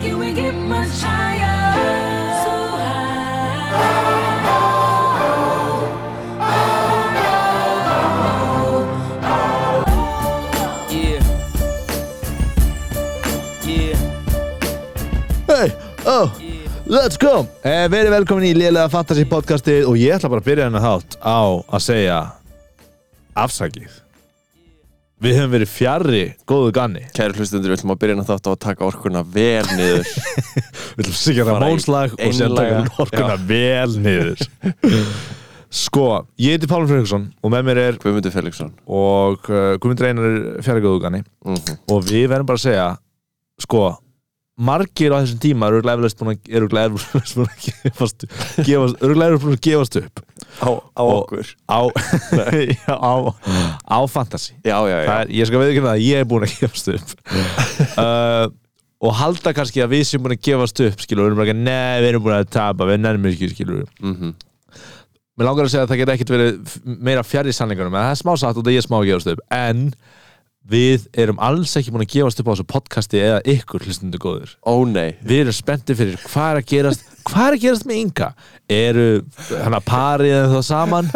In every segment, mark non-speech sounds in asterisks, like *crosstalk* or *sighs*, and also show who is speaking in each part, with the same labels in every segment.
Speaker 1: Can we get much higher? So high.
Speaker 2: Yeah. Yeah.
Speaker 3: Hey, oh, let's go eh, Verið velkomin í Lélega Fantasy podcastið og ég ætla bara að byrja hennar þátt á að segja afsakið Við höfum verið fjarri góðu ganni
Speaker 4: Kæru hlustendur, við ætlum að byrja inn að þátt á að taka orkuna vel
Speaker 3: *laughs*
Speaker 4: niður
Speaker 3: Við ætlum að sigja það
Speaker 4: Fara í
Speaker 3: mónslag og sér
Speaker 4: einlæga-
Speaker 3: taka orkuna vel niður *laughs* Sko, ég heiti Pálum Fredriksson og með mér er
Speaker 4: Guðmundur Felixson
Speaker 3: og uh, Guðmundur Einar er fjarri góðu ganni
Speaker 4: mm -hmm.
Speaker 3: og við verðum bara að segja sko, margir á þessum tíma eru glæðilegst búin að eru glæðilegst búin að gefast gefast, eru glæðilegst búin að gefast upp
Speaker 4: Á, á
Speaker 3: Og-
Speaker 4: okkur
Speaker 3: á, *laughs* Já, á, á fantasy
Speaker 4: Já, já, já,
Speaker 3: Það er, ég skal veðurkynna að ég er búin að *laughs* gefast upp uh, og halda kannski að við sem búin að gefast upp skilur, við erum bara, neð, við erum búin að tapa við nærmum ekki, skilur
Speaker 4: mm -hmm.
Speaker 3: mér langar að segja að það geta ekkert verið f- meira fjarr í sannleikunum, en það er smá satt og það ég er smá að gefast upp en við erum alls ekki búin að gefast upp á þessu podcasti eða ykkur hlustundu góður
Speaker 4: ó nei
Speaker 3: við erum spenntið fyrir hvað er að gerast hvað er að gerast með Inga eru hann að parið en þá saman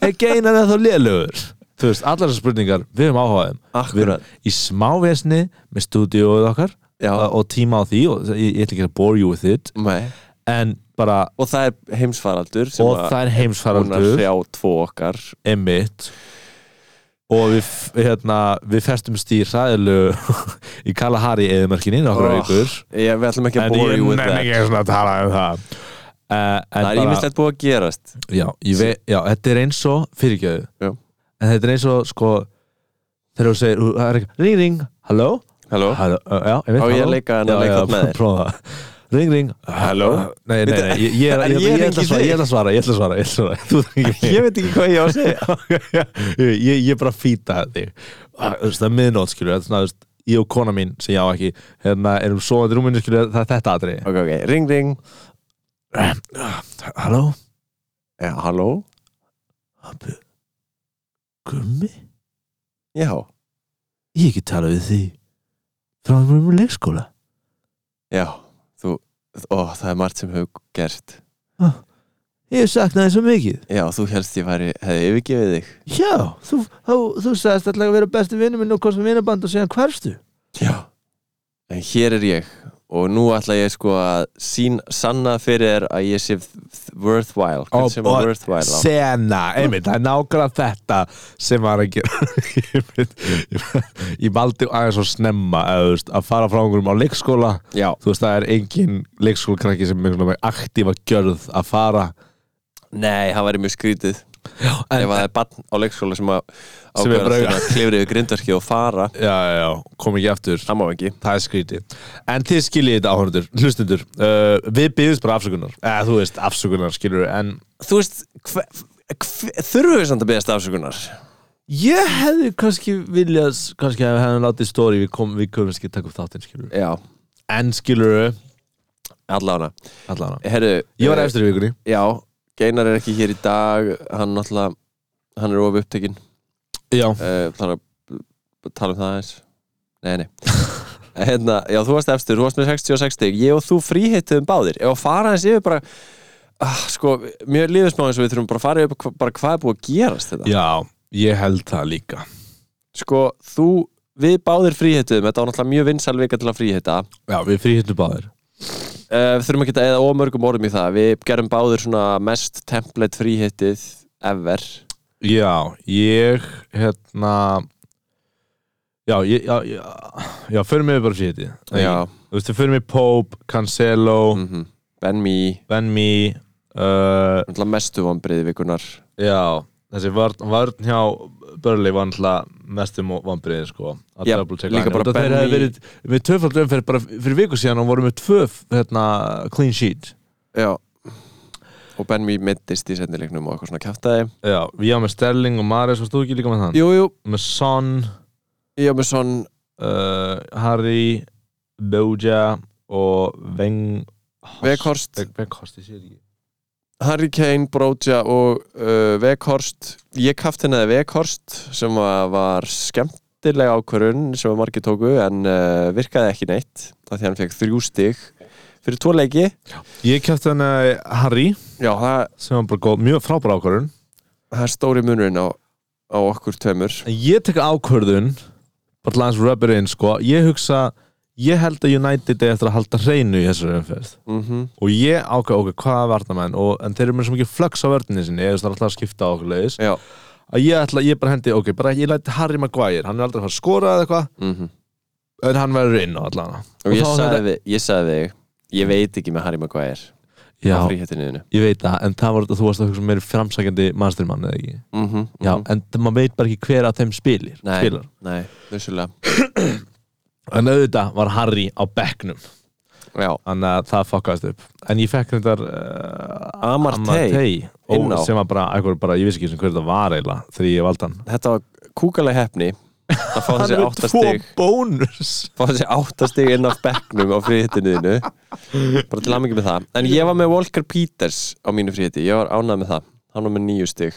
Speaker 3: er geinar en þá lélugur þú veist, allar þessar spurningar, við erum áhugaðum við
Speaker 4: Akkurat.
Speaker 3: erum í smávesni með stúdíóið okkar
Speaker 4: Já.
Speaker 3: og- og tíma á því og ég, ég ætla ekki að bore you with it
Speaker 4: Nei.
Speaker 3: en bara,
Speaker 4: Og það er heimsfaraldur sem
Speaker 3: og það er
Speaker 4: hún að
Speaker 3: heimsfaraldur
Speaker 4: hrjá tvo okkar
Speaker 3: emitt og við, f- hérna, við festumst í ræðilu *laughs* í Kalahari eðumörkinni nokkra
Speaker 4: Oh.
Speaker 3: vikur
Speaker 4: ég, Við ætlum ekki að
Speaker 3: en
Speaker 4: bóra
Speaker 3: ég
Speaker 4: jú
Speaker 3: nenni ekki svona að tala um það uh,
Speaker 4: Það er ímislegt búið að gerast
Speaker 3: Já, ég vei, já, þetta er eins og fyrirgjöðu
Speaker 4: Já.
Speaker 3: En þetta er eins og sko Þegar þú segir, það er ekki Ring ring, halló
Speaker 4: Halló,
Speaker 3: Halló, uh, já, ég veit,
Speaker 4: Á ég að
Speaker 3: halló?
Speaker 4: leika þennan
Speaker 3: Já,
Speaker 4: leik
Speaker 3: já,
Speaker 4: þarna eða?
Speaker 3: prófa það. Ring ring, Ah,
Speaker 4: Halló?
Speaker 3: Nei, nei, nei, *laughs* ég, ég, er-
Speaker 4: En
Speaker 3: ég,
Speaker 4: ég
Speaker 3: ég, ég
Speaker 4: hringi
Speaker 3: ætla að svara,
Speaker 4: þig.
Speaker 3: ég ætla að svara, ég ætla að svara, ég ætla að svara *laughs* Þú þarf ekki
Speaker 4: ég veit ekki hvað ég á að segja
Speaker 3: *laughs* ég, ég, ég bara fýta þig Ah, þú veist, Það er miðnótt skilur þetta er svona, þú veist, Ég og kona mín sem ég á ekki hérna, erum svoandi rúminu skilur það er þetta atri
Speaker 4: Ok, ok, ring, ring
Speaker 3: Halló,
Speaker 4: Já, Halló?
Speaker 3: Abbi, gummi
Speaker 4: Já,
Speaker 3: Ég ekki tala við því frá því vorum við leikskóla
Speaker 4: já Þú, ó, það er margt sem hefur gerst
Speaker 3: Ég saknaði svo mikið
Speaker 4: Já, þú helst ég væri, hefði yfirgefið þig
Speaker 3: Já, þú, þú, þú sagðist alltaf að vera besti vinnu minn og kostum vinnaband og segja hverstu
Speaker 4: Já En hér er ég og nú ætla ég sko að sín, sanna fyrir þér að ég sé th- worthwhile
Speaker 3: Ó,
Speaker 4: hvern sem
Speaker 3: og-
Speaker 4: er worthwhile á
Speaker 3: Sena, einmitt, það er nákvæmlega þetta sem var að gera *laughs* Ég veit- ég- Ég valdi aðeins svo snemma að, veist, að fara frá einhverjum á leikskóla
Speaker 4: Já,
Speaker 3: Þú veist, það er engin leikskólakrakki sem er með aktífa gjörð að fara
Speaker 4: nei, það væri mjög skrítið
Speaker 3: en-
Speaker 4: Ef það er barn á leikskóla sem að
Speaker 3: Sem er
Speaker 4: ákveður
Speaker 3: bara-
Speaker 4: að klifri yfir grindverki og fara
Speaker 3: Já, já, já, kom ekki aftur
Speaker 4: Það má ekki
Speaker 3: Það er skrítið. En þið skiljið þetta áhörnundur, hlustundur. Uh, við byggjumst bara afsökunar. Eða þú veist, afsökunar skilur en
Speaker 4: Þú veist, hve- hve- þurfum við samt að beðast afsökunar
Speaker 3: ég hefði kannski viljað, kannski hefði hefði látið stóri, við, kom, við komum ekki að taka upp þáttinn skilur.
Speaker 4: Já,
Speaker 3: En skilur,
Speaker 4: allána
Speaker 3: allan hana.
Speaker 4: Herru,
Speaker 3: Ég var
Speaker 4: eh,
Speaker 3: efstur í vikunni.
Speaker 4: Já, Geinar er ekki hér í dag Hann náttúrulega, hann er of upptekinn
Speaker 3: Já.
Speaker 4: uh, þannig að tala um það eins nei, nei *laughs* En hérna, já, þú varst efstur, þú varst með 66 stig ég og þú fríhittuðum báðir ef að fara eins yfir bara ah, sko, mér líður smá eins og við þurfum bara að fara yfir hva, bara hvað er búið að gerast þetta
Speaker 3: Já, ég held það líka.
Speaker 4: sko, þú, við báðir fríhittuðum þetta var náttúrulega mjög vinsæl vika til að fríhitta uh,
Speaker 3: Já, við fríhittum báðir.
Speaker 4: við þurfum ekki að eða ómörgum orðum í það við gerum báðir svona mest template fríhittið ever
Speaker 3: Já, ég, hérna... Já, ég, já, já, já, förum við bara fríhitti.
Speaker 4: já,
Speaker 3: Þú veist, förum við Pope, Cancelo,
Speaker 4: mm Ben Me,
Speaker 3: Ben Me, uh,
Speaker 4: náttúrulega mestu vonbriði vikunar
Speaker 3: Já, þessi vörn, vörn hjá Börli var náttúrulega mestum vambriðin sko að
Speaker 4: Já,
Speaker 3: double check
Speaker 4: líka
Speaker 3: line.
Speaker 4: bara
Speaker 3: Út af þeir
Speaker 4: Benny-
Speaker 3: hefði verið með töfald umferð bara fyrir viku síðan og voru með tvö hérna, clean sheet
Speaker 4: Já Og Ben Mee mittist í sendileiknum og eitthvað svona kæftæði
Speaker 3: Já, ég var með Sterling og Maris varst þú ekki líka með þann?
Speaker 4: Jú, jú,
Speaker 3: Með Son,
Speaker 4: ég var með svon
Speaker 3: uh, Harry Boja og Veng
Speaker 4: Veghorst,
Speaker 3: Veghorst, ég sé ekki
Speaker 4: Harry Kane, Broja og uh, Vekhorst Ég kæfti henni Vekhorst sem var, var skemmt skemmtilega ákvörun sem að margir tóku en uh, virkaði ekki neitt þá því hann fekk þrjú stig fyrir tvo leiki
Speaker 3: Ég kæfti hann að Harry
Speaker 4: Já, það,
Speaker 3: sem var bara góð, mjög frábæra ákvörðun
Speaker 4: það er stóri munurinn á, á okkur tveimur
Speaker 3: En Ég tek ákvörðun bara til aðeins rubber in sko ég hugsa, ég held að United er eftir að halda hreinu í þessari umferð
Speaker 4: mm -hmm.
Speaker 3: og ég ákveða, ok, hvað er varnamenn og, en þeir eru með svo mikið flöks á vörninni sinni eða það er alltaf að skipta á okkur leiðis
Speaker 4: Já,
Speaker 3: að ég ætla, ég bara hendi, ok, bara ég læti Harry Maguire hann er aldrei að fara að skora eða eitthvað
Speaker 4: mm
Speaker 3: en hann verður inn á allan
Speaker 4: og ég
Speaker 3: þá var
Speaker 4: sagði,
Speaker 3: þetta-
Speaker 4: við, ég sagði við þig, ég veit ekki með Harry Maguire
Speaker 3: Já,
Speaker 4: á fríhettinu
Speaker 3: ég veit það, en það var þetta þú varst að hugsa um meiri framsækjandi mastermann eða ekki
Speaker 4: mm -hmm.
Speaker 3: Já, en það- maður veit bara ekki hver af þeim spilir
Speaker 4: Nei,
Speaker 3: spilar.
Speaker 4: nei, vissulega
Speaker 3: En auðvitað var Harry á bekknum
Speaker 4: Já,
Speaker 3: Þannig að það fuckast upp En ég fekk reyndar uh,
Speaker 4: Amartey inn á.
Speaker 3: og sem var bara, eitthvað bara, ég vissi ekki sem hver þetta var eiginlega þegar ég valdi hann
Speaker 4: þetta var kúkalega hefni að fá þessi átta stig
Speaker 3: bónus
Speaker 4: fá þessi átta stig inn af bekknum á fríhettinuðinu bara til aðmengi með það en ég var með Walker Peters á mínu fríhetti ég var ánað með það, hann var með nýju stig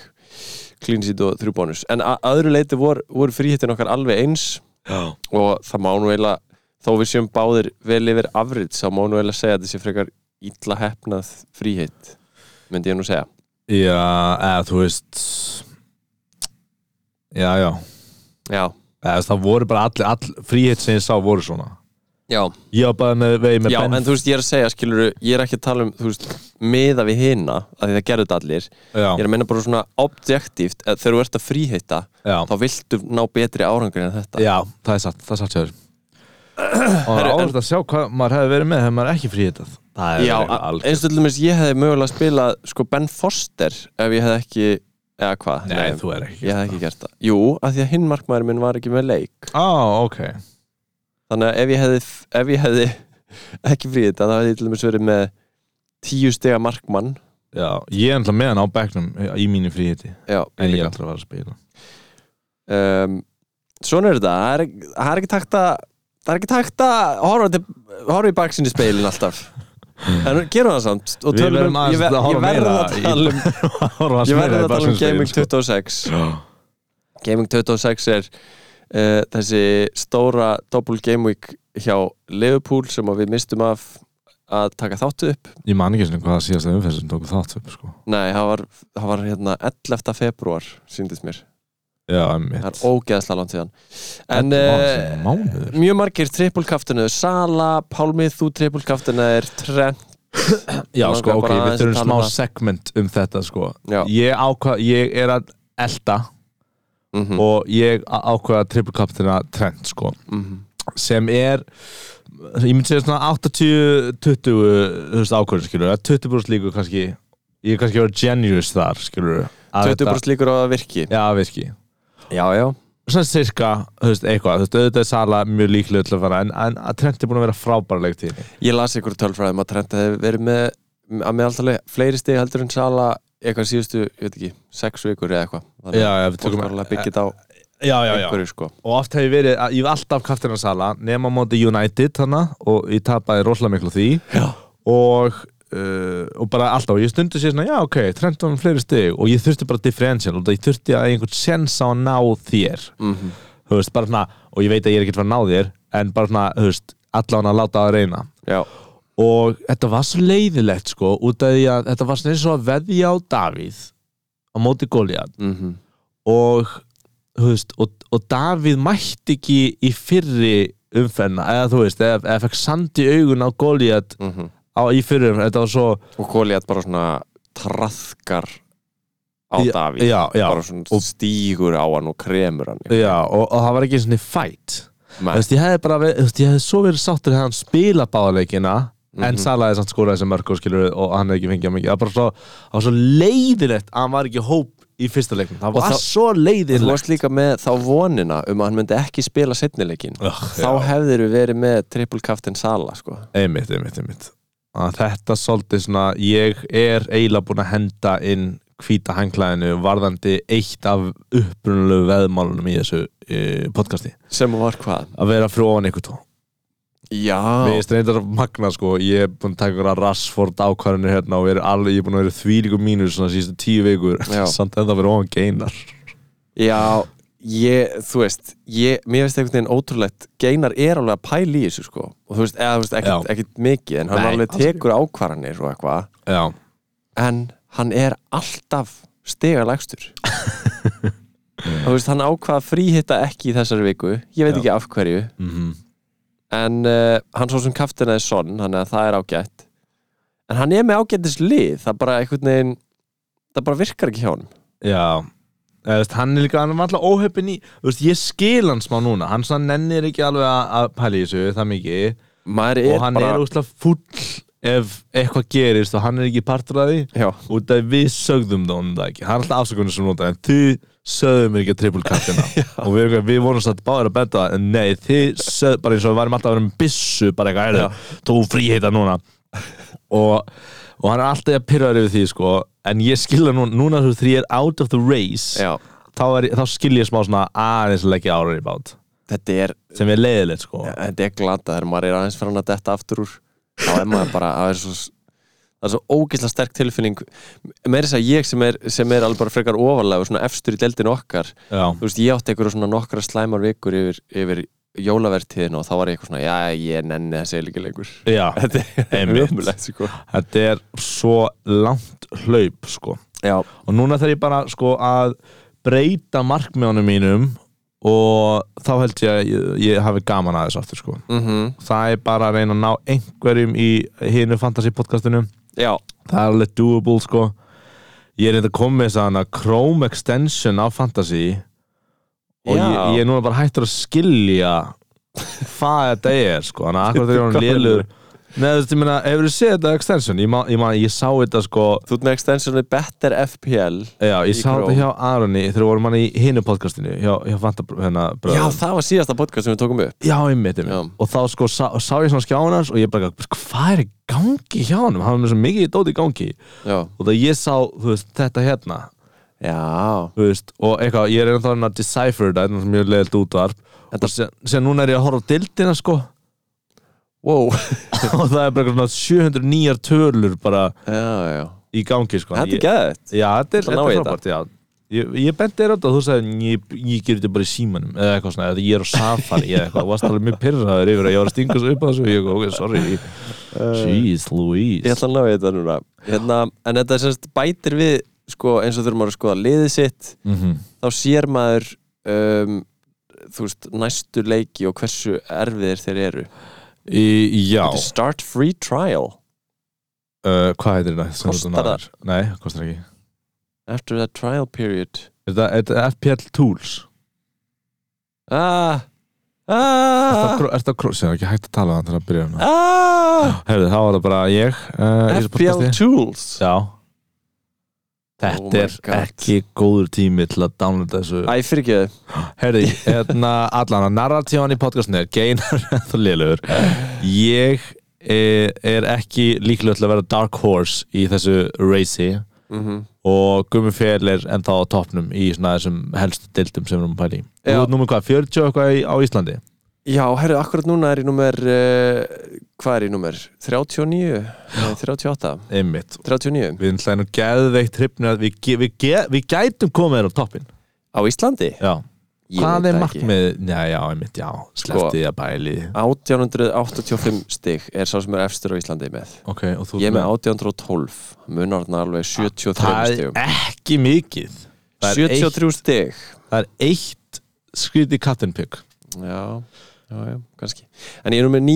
Speaker 4: clean sheet og þrjú bónus en að öðru leiti voru vor fríhettin okkar alveg eins
Speaker 3: Já,
Speaker 4: og það má nú eiginlega þó við séum báðir vel yfir afrits þá má nú eiginlega segja að þessi frekar illa hefnað fríhitt myndi ég nú segja
Speaker 3: já eða þú veist Já, já
Speaker 4: já,
Speaker 3: eða, þú veist, Það voru bara all, all fríhitt sem ég sá voru svona
Speaker 4: já,
Speaker 3: Ég var bara með vegi með
Speaker 4: já
Speaker 3: Ben
Speaker 4: en þú veist ég er að segja skilur, ég er ekki að tala um þú veist, miða við hina, að því það gerðu þetta allir ég
Speaker 3: já,
Speaker 4: er að menna bara svona objektíft að þegar þú ert að fríhitta
Speaker 3: já,
Speaker 4: þá viltu ná betri árangur en þetta
Speaker 3: já, það er satt, það er satt
Speaker 4: *clears throat*
Speaker 3: sér Og það er
Speaker 4: Herru, en-
Speaker 3: áhverfð að sjá hvað maður hefði verið með þegar maður er ekki fríhittað Það er
Speaker 4: Já,
Speaker 3: verið
Speaker 4: a-
Speaker 3: algjör
Speaker 4: eins og til dæmis ég hefði mögulega spilað sko Ben Foster ef ég hefði ekki eða hvað,
Speaker 3: Nei, þú er ekki
Speaker 4: e- ég hefði ekki gert það Jú, af því að hinn markmaður minn var ekki með leik
Speaker 3: Á, ok
Speaker 4: þannig að ef ég hefði, ef ég hefði *laughs* ekki fríhitta þá hefði ég til dæmis verið með tíu stiga markmann
Speaker 3: Já, ég er alltaf með hann á bekknum í mínu fríhiti
Speaker 4: Já,
Speaker 3: En ég er
Speaker 4: líka.
Speaker 3: alltaf að fara að spila
Speaker 4: um, Svona er þetta það er, það er ekki takt að það er ekki takt að horfa, til, horfa í baksinni speilin alltaf en gerum það samt og
Speaker 3: Hmm. Við
Speaker 4: tölum
Speaker 3: verðum
Speaker 4: um-
Speaker 3: aðeins
Speaker 4: ég ver-
Speaker 3: að horfa
Speaker 4: ég verð
Speaker 3: meira
Speaker 4: að
Speaker 3: í-
Speaker 4: tala um ég verð að tala um Gaming 26
Speaker 3: sko.
Speaker 4: Gaming 26 er uh, þessi stóra double game week hjá Liverpool sem að við mistum af að taka þáttu upp
Speaker 3: Ég man ekki svona hvað síðast að umferð sem tóku þátt upp sko.
Speaker 4: nei, það var, það var hérna 11. februar síndist mér,
Speaker 3: Já, emmitt
Speaker 4: það er ógeðslega langt síðan en uh,
Speaker 3: Mánuður
Speaker 4: mjög margir trippulkaftunuður Sala, Pálmið, þú trippulkaftunuður Trent
Speaker 3: Já,
Speaker 4: langar
Speaker 3: sko, ok,
Speaker 4: bara
Speaker 3: við
Speaker 4: aðeins að
Speaker 3: þurfum
Speaker 4: tala
Speaker 3: smá
Speaker 4: um það.
Speaker 3: segment um þetta sko.
Speaker 4: Já.
Speaker 3: Ég ákvað, ég er að elta
Speaker 4: mm -hmm.
Speaker 3: og ég á- ákvað að triple captaina trend sko, sem er ég myndi segja svona 80-20 þú veist, ákvörðin skilur 20 brúst líku kannski ég er kannski að vera generous þar skilur
Speaker 4: 20 brúst líkur á að það virki
Speaker 3: Já, virki
Speaker 4: já, já,
Speaker 3: svona cirka, þú veist, eitthvað þú veist, auðvitað er Sala mjög líklega til að fara en, en að Trent er búin að vera frábæra leiktíðinni
Speaker 4: ég las ykkur tölfræðum að Trent hefði verið með að með alltaf fleiri stig heldur en Sala eitthvað síðustu, ég veit ekki, sex vikur eða eitthvað þannig
Speaker 3: Já,
Speaker 4: að
Speaker 3: já, við
Speaker 4: fólk
Speaker 3: tökum-
Speaker 4: var alveg að byggja þetta á
Speaker 3: já, já, já,
Speaker 4: einhverju sko
Speaker 3: og oft hef ég verið að- ég hef alltaf kaftin að Sala, nema á móti United hana, og ég tapaði rosalega miklu á því
Speaker 4: já,
Speaker 3: og Uh, og bara alltaf, og ég stundu sér svona já ok, Trent var með fleiri stig og ég þurfti bara differential og ég þurfti að eiga einhvern sens á að ná þér
Speaker 4: mhm,
Speaker 3: þú veist, bara svona, og ég veit að ég er ekkert að ná þér en bara svona, þú veist, allan að láta að reyna
Speaker 4: já,
Speaker 3: og þetta var svo leiðilegt sko út af því að þetta var svona eins og að veðja á Davíð á móti Góliat
Speaker 4: mhm,
Speaker 3: og, þú veist, og, og Davíð mætti ekki í fyrri umferna eða þú veist, eða, eða fekk sandi augun á Góliat
Speaker 4: mhm
Speaker 3: á, í fyrri umferna þetta var svo
Speaker 4: og Goliath bara svona traðkar á
Speaker 3: Já,
Speaker 4: Davíð
Speaker 3: já, já.
Speaker 4: bara svona
Speaker 3: Og-
Speaker 4: stígur á hann og kremur hann
Speaker 3: já, og, og það var ekki svona fight
Speaker 4: Nei.
Speaker 3: þú veist, ég hefði bara verið- þú veist, ég hefði svo verið sáttur hefði hann spila báðleikina en
Speaker 4: Mhm.
Speaker 3: Salah hefði samt skóraði sem mörg og skilur og hann hefði ekki fengið að mikið það var bara svo, það var svo leiðilegt að hann var ekki í hóp í fyrsta leiknum það
Speaker 4: Og
Speaker 3: var
Speaker 4: þá-
Speaker 3: svo
Speaker 4: Þú
Speaker 3: leiðilegt
Speaker 4: varst líka með þá vonina um að hann myndi ekki spila setnileikin
Speaker 3: Ugh,
Speaker 4: þá hefðir við verið með triple captain Sala sko.
Speaker 3: einmitt, einmitt, einmitt að þetta svolítið svona ég er eiginlega búin að henda inn hvíta hangklæðinu varðandi eitt af upprunalegu veðmálunum í þessu e, podcasti
Speaker 4: sem var hvað?
Speaker 3: að vera frá ofan ykkur tó
Speaker 4: Já,
Speaker 3: Mér finnst reyndar að magna sko Ég er búin að taka einhverja rassford ákvarðinu hérna og er alveg, ég er *laughs* búin að vera þvílíku mínus svona síðustu tíu vikur
Speaker 4: Já.
Speaker 3: samt enda að vera ofan geinar
Speaker 4: Já, ég, þú veist ég, mér finnst einhvern veginn ótrúlegt Geinar er alveg að pæla í þessu sko og þú veist, eða þú veist, ekkert,
Speaker 3: Já.
Speaker 4: ekkert mikið en hann
Speaker 3: Nei,
Speaker 4: alveg
Speaker 3: alls ekki.
Speaker 4: tekur ákvarðanir og eitthvað
Speaker 3: já,
Speaker 4: en hann er alltaf
Speaker 3: *laughs*
Speaker 4: stigalægstur þú veist, hann ákvað að fríhitta ekki í þessari viku, ég veit
Speaker 3: Já.
Speaker 4: ekki af hverju
Speaker 3: mhm,
Speaker 4: en uh, hann svo sem kaftinaði sonn, þannig að það er ágætt en hann er með ágættis lið það bara einhvern veginn það bara virkar ekki hjá honum
Speaker 3: já Eða, þú veist, hann er líka, hann er alltaf óhefin í þú veist, ég skil hann smá núna hann svona nennir ekki alveg að að pæla í þessu það mikið
Speaker 4: maður er
Speaker 3: og hann
Speaker 4: bara
Speaker 3: er úslega full ef eitthvað gerist og hann er ekki partur af því
Speaker 4: já,
Speaker 3: út af við sögðum það honum það ekki hann er alltaf afsökunum sem nota en þið sögðum mér ekki að triple
Speaker 4: *laughs*
Speaker 3: kattina og við, erum eitthvað- við vorum satt báðir að benda það en nei, þið sögðum bara eins og við varum alltaf að vera með bissu bara eitthvað, er þú fríheita núna og, og hann er alltaf að pyrraður yfir því sko en ég skilja núna, núna þú því er out of the race
Speaker 4: já,
Speaker 3: þá, er, þá skilja ég smá svona aðeins að leggja ára í bát
Speaker 4: þetta er
Speaker 3: sem er leiðilegt sko
Speaker 4: þetta er glata þegar maður er aðeins fyrir hann að detta aftur úr þá er maður bara það er svo, það er svo ógeðslega sterk tilfinning meira þess að ég sem er, sem er alveg bara frekar ofarlega svona efstur í deldin okkar
Speaker 3: já,
Speaker 4: þú veist ég átti einhverju svona nokkra slæmar vikur yfir, yfir jólavertíðin og þá var ég eitthvað svona já ég nenni þessi eiginlega lengur *laughs*
Speaker 3: já.
Speaker 4: þetta er
Speaker 3: Einmitt.
Speaker 4: umulegt sko.
Speaker 3: þetta er svo langt hlaup sko
Speaker 4: já,
Speaker 3: og núna þarf ég bara sko að breyta markmiðunum mínum og þá held ég að ég, ég hafi gaman að þessu aftur sko
Speaker 4: mm
Speaker 3: það er bara að reyna að ná einhverjum í hinu fantasy podcastinu
Speaker 4: já,
Speaker 3: það er alveg doable sko ég er reynda að koma með þess að hana Chrome extension á fantasy og ég,
Speaker 4: Já.
Speaker 3: ég er núna bara hættur að skilja hvað þetta er sko þannig að akkur þegar hún
Speaker 4: Hvað
Speaker 3: lélur
Speaker 4: meinarðu?
Speaker 3: Nei, þú veist, ég meina, hefur þú séð þetta extension? Ég, man, ég, man, ég sá þetta sko
Speaker 4: þú ert með extensionu Better FPL
Speaker 3: Já, ég
Speaker 4: Í
Speaker 3: sá þetta
Speaker 4: Chrome.
Speaker 3: hjá Aroni þegar við vorum hann í hinu podcastinu hjá, hjá Fanta hérna,
Speaker 4: já
Speaker 3: bröðum.
Speaker 4: það var síðasta podcast sem við tókum upp
Speaker 3: Já, einmitt,
Speaker 4: Já.
Speaker 3: einmitt. Og þá sko sá, sá ég svona skjána hans og ég bara, hvað er í gangi hjá hann? Hann er með svo mikið dót í gangi
Speaker 4: já,
Speaker 3: og það ég sá, þú veist, þetta hérna
Speaker 4: já.
Speaker 3: þú veist, og eitthvað, ég er ennþá hann að decipher þetta, þetta er mjög leiðilt útvarp og sér, sér núna er ég að horfa á dildina sko
Speaker 4: wow
Speaker 3: *laughs* og það er bara eitthvað svona 700 nýjar tölur bara
Speaker 4: já, já.
Speaker 3: í gangi sko
Speaker 4: þetta
Speaker 3: Ég-
Speaker 4: er gæðið
Speaker 3: Já, þetta er,
Speaker 4: Ætla að
Speaker 3: þetta
Speaker 4: ná
Speaker 3: er
Speaker 4: í þetta.
Speaker 3: frábært, já Ég, ég benti þér á þetta og þú sagði ég, ég ger þetta bara í símanum eða eitthvað svona, eða ég er á safari eða eitthvað, þú varst alveg mjög pyrraður yfir að ég var að stinga svo upp að þessu og ég eitthvað, ok, sorry Jeez
Speaker 4: Eh, Ég
Speaker 3: Louise
Speaker 4: ætla að ná í þetta núna hérna, En þetta semst bætir við sko, eins og þurfum að skoða liðið sitt
Speaker 3: Mhm.
Speaker 4: þá sér maður um, þú veist, næstu leiki og hversu erfiðir þeir eru
Speaker 3: Í, Já,
Speaker 4: Þetta er Start free trial
Speaker 3: uh, hvað heitir þetta? Sem
Speaker 4: Kostar
Speaker 3: þetta
Speaker 4: það?
Speaker 3: náður? um? Nei, kostar ekki
Speaker 4: After that trial period
Speaker 3: Er þetta- Er þetta FPL Tools?
Speaker 4: Ah,
Speaker 3: Er
Speaker 4: ah,
Speaker 3: þetta að krósa? Það er ekki hægt að tala þannig að byrja um það
Speaker 4: ah
Speaker 3: Herðu, þá var það bara ég uh, í þessu
Speaker 4: FPL
Speaker 3: podcasti.
Speaker 4: Tools
Speaker 3: Já
Speaker 4: Oh
Speaker 3: Þetta
Speaker 4: my
Speaker 3: er
Speaker 4: God.
Speaker 3: ekki góður tími til að downloada þessu
Speaker 4: Æ, fyrir ekki þau
Speaker 3: Herri, hérna allan að narratívan í podcastinu er geinar *laughs* og liðlegur Ég er, er ekki líklega til að vera dark horse í þessu raci Mhm. og Gummi Fjell er ennþá á toppnum í svona þessum helstu dildum sem við erum að pæla í
Speaker 4: Já.
Speaker 3: Þú ert númer hvað, 40 og eitthvað í- á Íslandi?
Speaker 4: Já, herru, akkurat núna er í númer uh, hvað er í númer? 39? Nei, 38?
Speaker 3: Einmitt
Speaker 4: 39?
Speaker 3: Við erum hlæðinu geðveikt hrifnir að við, ge- við, ge- við gætum komið þér á toppin
Speaker 4: Á Íslandi?
Speaker 3: Já,
Speaker 4: Ég
Speaker 3: hvað
Speaker 4: veit
Speaker 3: er
Speaker 4: það ekki. Sko.
Speaker 3: markmið? Já, já, einmitt, já, sleftið að bæli
Speaker 4: 1885 stig er sá sem er efstur á Íslandi með
Speaker 3: Ok, og þú
Speaker 4: ég
Speaker 3: ert
Speaker 4: er með 1812 munar hann alveg 73
Speaker 3: Það
Speaker 4: stigum
Speaker 3: er ekki mikið Það er eitt
Speaker 4: 73 stig
Speaker 3: það er eitt skrítið Captain Pig
Speaker 4: já, já, já, kannski en ég er nú með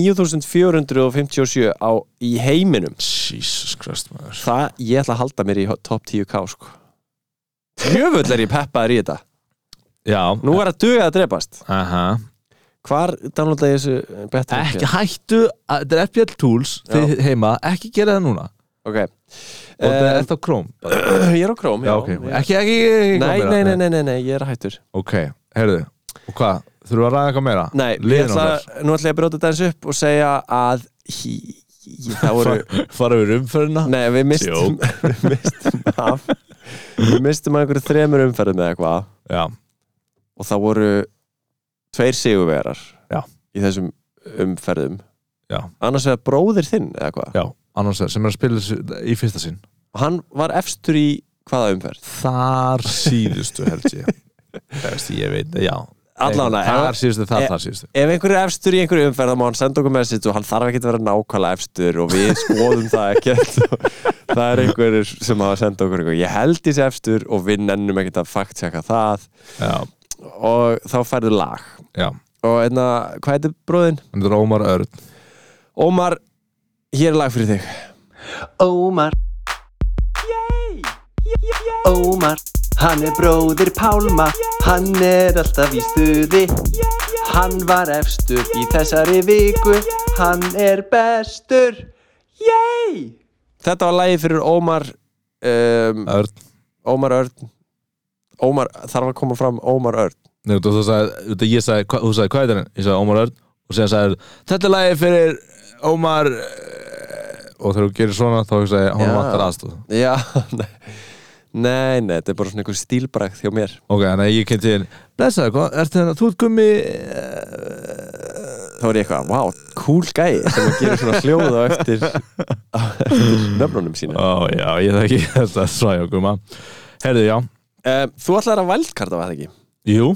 Speaker 4: 9457 á, í heiminum
Speaker 3: Jesus Christ maður
Speaker 4: það ég ætla að halda mér í top 10k sko Jöfull er ég peppaður í þetta
Speaker 3: Já,
Speaker 4: Nú er að duga að drepast
Speaker 3: aha
Speaker 4: Hvar downloada ég þessu betra
Speaker 3: Ekki hættu, að- þetta er FPL Tools þið heima, ekki gera það núna
Speaker 4: Ok
Speaker 3: og þetta er
Speaker 4: uh,
Speaker 3: ennþá Chrome bara.
Speaker 4: *clears throat* Ég er á króm
Speaker 3: Já, ok, ekki, ekki, ekki
Speaker 4: nei, nei, nei, nei, nei, nei, ég er hættur
Speaker 3: Ok, heyrðu, og hvað, þurfum við að ræða eitthvað meira?
Speaker 4: Nei, ég
Speaker 3: Liðin
Speaker 4: ætla,
Speaker 3: okkar
Speaker 4: nú ætla ég að bróta þetta eins upp og segja að hí, hí, það voru
Speaker 3: Fa- Fara við rumferðina
Speaker 4: Nei, við mistum, *laughs* við mistum af Við mistum af einhverju þremur umferðum eða eitthvað
Speaker 3: Já,
Speaker 4: og það voru tveir sigurvegarar
Speaker 3: Já.
Speaker 4: í þessum umferðum
Speaker 3: Já.
Speaker 4: Annars vegar bróðir þinn eða eitthvað
Speaker 3: já, annars er- sem er að spila þessu í fyrsta sinn
Speaker 4: Hann var efstur í hvaða umferð?
Speaker 3: *laughs* Þar síðustu held ég Veist, ég veit, já
Speaker 4: Allána,
Speaker 3: Þar síðustu, þar,
Speaker 4: Eh,
Speaker 3: þar síðustu
Speaker 4: ef einhver er efstur í einhverju umferð þá má hann senda okkur message og hann þarf ekki að vera nákvæmlega efstur og við skoðum það ekkert *laughs* það er einhver sem hafa senda okkur einhver. ég held þessi efstur og við nennum ekkert að fakt checka það
Speaker 3: Já,
Speaker 4: og þá færðu lag
Speaker 3: já
Speaker 4: og einna, hvað heitir bróðin?
Speaker 3: Þetta er Ómar Örn
Speaker 4: Ómar, hér er lag fyrir þig
Speaker 2: Ómar Ómar Hann er bróðir Pálma Hann er alltaf í stuði Hann var efstur í þessari viku Hann er bestur Yay!
Speaker 4: þetta var lagi fyrir Ómar um,
Speaker 3: Örn
Speaker 4: Ómar Örn Ómar, þarf að koma fram Ómar Örn
Speaker 3: Nei, þú, þú sagði, þú veist, ég sagði, hva- þú sagði hvað er þetta? Ég sagði Ómar Örn og síðan sagði Þetta er lagið fyrir Ómar eh, og þegar þú gerir svona þá hugsaði ég, hún
Speaker 4: Já.
Speaker 3: vantar aðstoð
Speaker 4: já, *laughs* nei nei, nei, þetta er bara svona einhver stílbrakt hjá mér
Speaker 3: Ok, þannig að ég kynnti þér Blessaður, hvað, ertu hérna, þú ert gummi eh?"
Speaker 4: þá er ég eitthvað, wow, cool
Speaker 3: *laughs*
Speaker 4: gæi sem að gera svona hljóð á eftir, á eftir nöfnunum sína
Speaker 3: Ó, já, ég þekki þetta svæði og gumma Herðu, já,
Speaker 4: um, Þú ætlar að vældkarta var það ekki?
Speaker 3: jú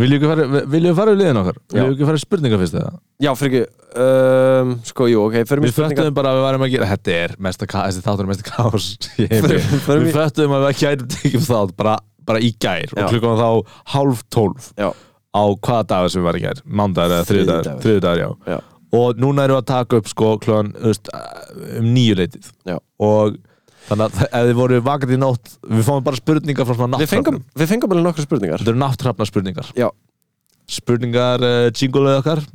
Speaker 3: Viljum við fara, viljum við fara í liðin okkar?
Speaker 4: Já.
Speaker 3: Viljum við ekki fara í spurningar fyrst eða?
Speaker 4: Já, fyrir ekki, um, sko, jú, ok fyrir
Speaker 3: Við föttum bara að við varum að gera Þetta er mesta ká- þessi þáttur er mesta *laughs* kás í heimi.
Speaker 4: Förum- förum
Speaker 3: Við
Speaker 4: í-
Speaker 3: föttum að við kærum tekjum þátt bara, bara í gær
Speaker 4: Já.
Speaker 3: og klukkan var þá hálf tólf
Speaker 4: Já,
Speaker 3: á hvaða dagar sem við varum í gær Mándagar eða þriðdagar,
Speaker 4: Þriðjudagur.
Speaker 3: þriðdagar já.
Speaker 4: já,
Speaker 3: Og núna erum við að taka upp sko klukkan þú veist, um nýju leitið
Speaker 4: já
Speaker 3: og þannig að ef þið voru vakandi í nótt við fáum bara spurningar frá svona
Speaker 4: Við fengum,
Speaker 3: nátthrafnum
Speaker 4: við fengum alveg nokkra spurningar
Speaker 3: Þetta eru nátthrafna spurningar
Speaker 4: Já,
Speaker 3: Spurningar uh, jingle okkar
Speaker 4: uh,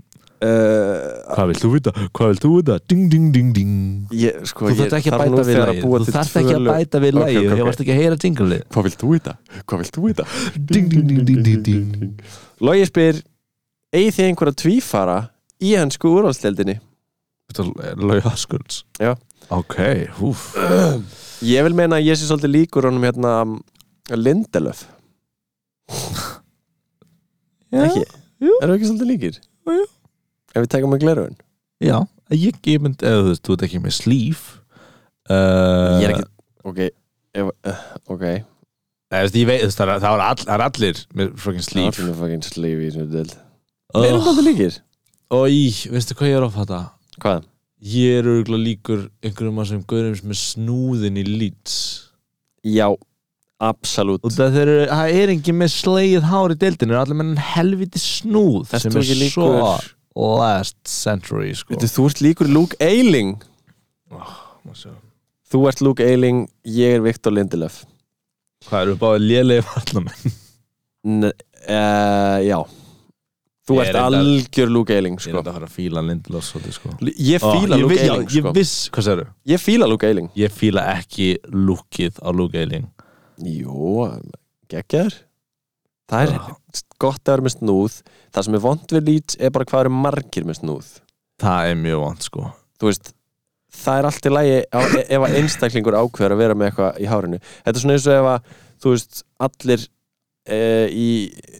Speaker 3: Hvað vilt þú vita? Hvað vilt þú vita? Ding, ding, ding, ding
Speaker 4: ég, sko
Speaker 3: Þú þarft
Speaker 4: ég
Speaker 3: ekki að
Speaker 4: þarf
Speaker 3: bæta
Speaker 4: nú
Speaker 3: við
Speaker 4: þegar
Speaker 3: lagið
Speaker 4: búa
Speaker 3: Þú
Speaker 4: til
Speaker 3: þarft
Speaker 4: tvö
Speaker 3: ekki að
Speaker 4: lög.
Speaker 3: bæta við
Speaker 4: Ok,
Speaker 3: lagið
Speaker 4: ok,
Speaker 3: Ég
Speaker 4: ok.
Speaker 3: varst ekki að heyra jingle
Speaker 4: Hvað vilt þú í það? Hvað vilt þú í það?
Speaker 3: Ding, ding, ding, ding, ding, ding
Speaker 4: Logi spyr, eigið þið einhverja tvífara í hansku úrvalstildinni?
Speaker 3: Þetta er Lauja Askunds
Speaker 4: Já.
Speaker 3: Ok, húf
Speaker 4: Ég vil meina að ég sé svolítið líkur honum hérna Lindelöf Ekki?
Speaker 3: jú.
Speaker 4: Erum við ekki svolítið líkir?
Speaker 3: Jú, jú.
Speaker 4: Ef við tekum með glerun
Speaker 3: Já, ég, ég mynd eða þú veist, þú ert ekki með slíf uh,
Speaker 4: Ég er ekki Eh, Ok ef, uh, Ok
Speaker 3: Nei, þú veist, ég veit, þú veist, það er- það er all, það er allir með frökin slíf
Speaker 4: Það er fucking slíf í þessu dild
Speaker 3: Oh.
Speaker 4: Erum við svolítið líkir?
Speaker 3: Og ég, veistu hvað ég er of þetta?
Speaker 4: Hvað?
Speaker 3: Ég er auðvitað líkur einhverjum að sem gaurum sem er snúðin í lýts
Speaker 4: Já Absolutt
Speaker 3: Og það, þeir, eru- það er engin með slegið hár í deildinu allir með enn helviti snúð
Speaker 4: Ert
Speaker 3: sem er
Speaker 4: þú ekki
Speaker 3: svo
Speaker 4: líkur-
Speaker 3: last century sko.
Speaker 4: Veitu, Þú ert líkur Luke Eiling
Speaker 3: Má sjá.
Speaker 4: Þú ert Luke Eiling Ég er Viktor Lindelöf
Speaker 3: Hvað eru báðið lélegi vallamenn?
Speaker 4: N uh, Já Þú
Speaker 3: Ég
Speaker 4: ert
Speaker 3: er reyndar-
Speaker 4: algjör Luke
Speaker 3: Ég
Speaker 4: Eiling
Speaker 3: er
Speaker 4: sko.
Speaker 3: þetta að fara að fíla Lindelof svolítið sko.
Speaker 4: Ég fíla
Speaker 3: Ó, ég
Speaker 4: Luke
Speaker 3: vi- já,
Speaker 4: Eiling sko.
Speaker 3: Ég viss, hvað segir
Speaker 4: Ég fíla Luke Eiling
Speaker 3: Ég fíla ekki lúkið á Luke Eiling
Speaker 4: Jú, geggjar Það er
Speaker 3: Ah,
Speaker 4: gott að vera með snúð Það sem er vond við lít er bara hvað eru margir með snúð
Speaker 3: Það er mjög vant sko
Speaker 4: Þú veist, það er allt í lagi á, e- ef að einstaklingur ákveður að vera með eitthvað í hárinu Þetta er svona eins og ef að þú veist, allir e, í,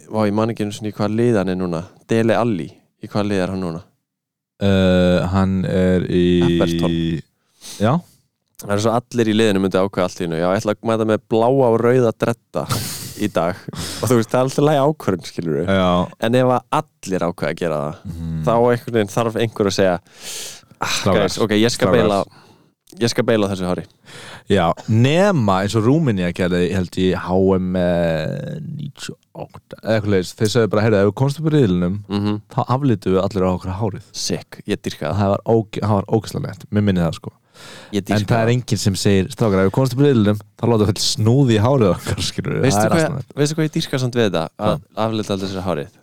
Speaker 4: vá, ég man ekki einu svona í hvað liðan er núna Dele Alli, í hvað liðar hann núna
Speaker 3: uh, Hann er í
Speaker 4: Everton.
Speaker 3: Já,
Speaker 4: Það er svo allir í liðinu myndi ákveða allt í hennu Já, ég ætla að mæta með bláa og rauða dretta í dag og þú veist, það er alltaf lægi ákvörðun, skilur við
Speaker 3: já
Speaker 4: en ef að allir ákveða að gera það
Speaker 3: mm,
Speaker 4: þá einhvern veginn þarf einhver að segja
Speaker 3: Strákar.
Speaker 4: guys, ok, ég skal
Speaker 3: Strákar.
Speaker 4: beila ég skal beila þessu hári
Speaker 3: Já, nema eins og Rúminja gerði, ég held ég, HM eh, 98 eða eitthvað leiðis, þeir sagði bara, heyrðu, ef við komstum upp í riðlinum
Speaker 4: mm
Speaker 3: þá aflítum við allir á okkur hárið
Speaker 4: sick, ég dyrka
Speaker 3: það
Speaker 4: það
Speaker 3: var, óg, það var ógæslega nett, mér minni það sko
Speaker 4: ég
Speaker 3: en
Speaker 4: dyrka
Speaker 3: það er
Speaker 4: það
Speaker 3: enginn sem segir, strákar, ef við komstum upp í riðlinum þá láta við snúði í hárið okkar, skilur við
Speaker 4: veistu
Speaker 3: það er
Speaker 4: hvað,
Speaker 3: asnalegt.
Speaker 4: veistu hvað ég dyrka samt við þetta að aflita allir þessu hárið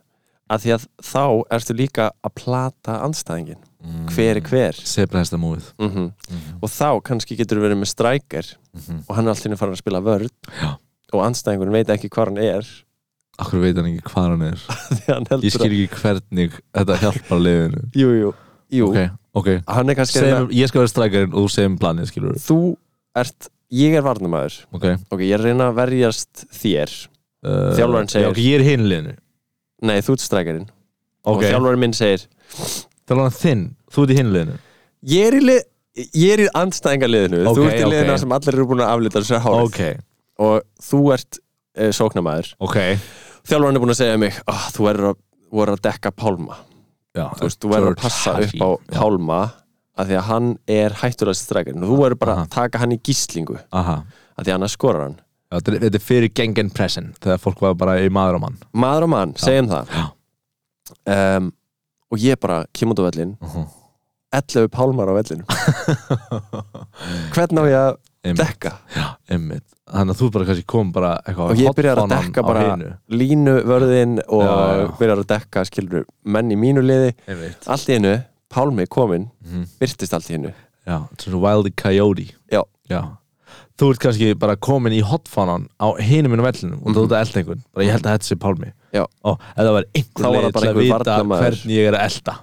Speaker 4: að því að þá ertu líka að plata anstæðingin
Speaker 3: Mm.
Speaker 4: hver er hver
Speaker 3: Sebra hesta múið
Speaker 4: mm og þá kannski getur verið með strækjar
Speaker 3: Mhm.
Speaker 4: og hann er alltaf farin að spila vörð
Speaker 3: Já.
Speaker 4: og anstæðingur veit ekki hvað hann er *laughs*
Speaker 3: Akkur veit hann ekki hvað hann er
Speaker 4: því hann heldur
Speaker 3: Ég skil
Speaker 4: að,
Speaker 3: ekki hvernig þetta hjálpar liðinu
Speaker 4: jú, jú, jú
Speaker 3: Ok, ok
Speaker 4: hann er kannski að
Speaker 3: Segum, Ég skal vera strækarinn og þú segum planið, skilur við
Speaker 4: þú ert, ég er varnamæður
Speaker 3: Ok
Speaker 4: ok, ég er að reyna að verjast þér
Speaker 3: Uh,
Speaker 4: Þjálfarinn segir-
Speaker 3: já, ok, Ég er hinliðinu
Speaker 4: nei, þú ert strækarinn og
Speaker 3: okay.
Speaker 4: þjálfarinn minn segir
Speaker 3: Þjálfarinn þinn, þú ert í hinliðinu
Speaker 4: ég er í, lið, ég er í anstæðingaliðinu
Speaker 3: Ok,
Speaker 4: þú ert í
Speaker 3: ok.
Speaker 4: liðina sem allir eru búin að aflita þessu hárið
Speaker 3: Ok,
Speaker 4: og þú ert uh, sóknamaður
Speaker 3: ok
Speaker 4: eh, þjálfarinn er búin að segja við mig oh, þú verður að, voru að dekka pálma
Speaker 3: já,
Speaker 4: þú veist, þú verður að passa upp á pálma af því að hann er hættulegst strækarinn þú verður bara
Speaker 3: Aha.
Speaker 4: að taka hann í gíslingu
Speaker 3: Aha.
Speaker 4: af því að hann skorar hann
Speaker 3: Já, þetta er- þetta er fyrir gengen pressin þegar fólk var bara í maður á mann
Speaker 4: maður og mann, segjum það
Speaker 3: Já.
Speaker 4: um, og ég bara kem út á vellin
Speaker 3: Mhm.
Speaker 4: 11 pálmar á vellinu
Speaker 3: *laughs*
Speaker 4: hvernig á ég að
Speaker 3: einmitt,
Speaker 4: dekka
Speaker 3: einmitt. þannig að þú bara kannski kom bara eitthvað
Speaker 4: og ég byrjar að
Speaker 3: hornfánan
Speaker 4: dekka
Speaker 3: á
Speaker 4: bara
Speaker 3: hinu.
Speaker 4: línuvörðin og
Speaker 3: Já, já.
Speaker 4: byrjar að dekka skilur menn í mínu liði
Speaker 3: einmitt
Speaker 4: allt í hennu, Pálmi kominn
Speaker 3: Mhm.
Speaker 4: byrtist allt í hennu
Speaker 3: já, svona Wildy Coyote
Speaker 4: Já.
Speaker 3: þú ert kannski bara komin í hotfánan á hinum minn á vellinum og þú ert að elda einhvern bara ég held að þetta sé pálmi
Speaker 4: Já.
Speaker 3: og ef það var
Speaker 4: Þá
Speaker 3: einhver
Speaker 4: var það
Speaker 3: leið
Speaker 4: bara
Speaker 3: til að
Speaker 4: einhver
Speaker 3: vita
Speaker 4: varnarmaður.
Speaker 3: hvernig ég er að elda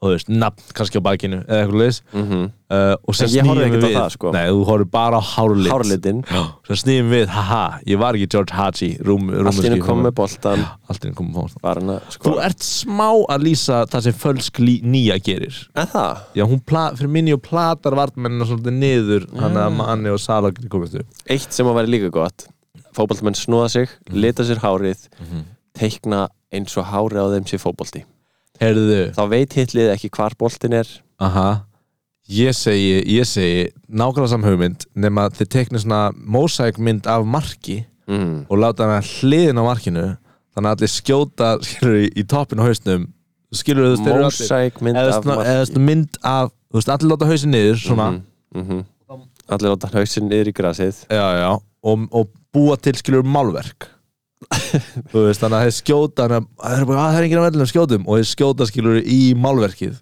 Speaker 3: og þú veist, nafn kannski á bakinu eða eitthvað leis uh, og sem
Speaker 4: Mhm. En ég horfði
Speaker 3: snýjum
Speaker 4: ekkert á
Speaker 3: við
Speaker 4: það, sko.
Speaker 3: nei, þú horfði bara á hárlit
Speaker 4: Hárlitin,
Speaker 3: sem snýjum við, haha, ég var ekki George Haji rúm,
Speaker 4: allt í hennu kom með boltan
Speaker 3: allt í hennu kom með fónst
Speaker 4: var hann að
Speaker 3: þú
Speaker 4: sko
Speaker 3: ert smá að lýsa það sem fölsk lí- nýja gerir
Speaker 4: en það,
Speaker 3: Já, hún pla, fyrir minni og platar vartmennina svolítið niður þannig
Speaker 4: Mm.
Speaker 3: að manni og salagri komist upp
Speaker 4: eitt sem að vera líka gott fótboltamenn snúða sig,
Speaker 3: Mhm.
Speaker 4: lita sér hárið teikna eins og hárið á þeim sér fótbolti
Speaker 3: Herðu,
Speaker 4: þá veit hitlið ekki hvar boltin er
Speaker 3: aha Ég segi, ég segi nákvæmlega samhugmynd nema þið teknir svona mósækmynd af marki
Speaker 4: mm.
Speaker 3: og láta hana hliðin á markinu þannig að allir skjóta skilur, í toppin á hausnum skilur þú þeir eru allir-
Speaker 4: mósæk mynd
Speaker 3: eða
Speaker 4: af
Speaker 3: svona- eða
Speaker 4: marki
Speaker 3: svona mynd af þú veist, allir láta hausin niður svona,
Speaker 4: Mhm, mhm. allir láta hausinn niður í grasið
Speaker 3: já, já, og, og búa til skilur málverk þú veist, þannig að þeir skjóta þannig að það er, bara, "Ah, það er enginn að verðlum skjótum og þeir skjóta skilur í málverkið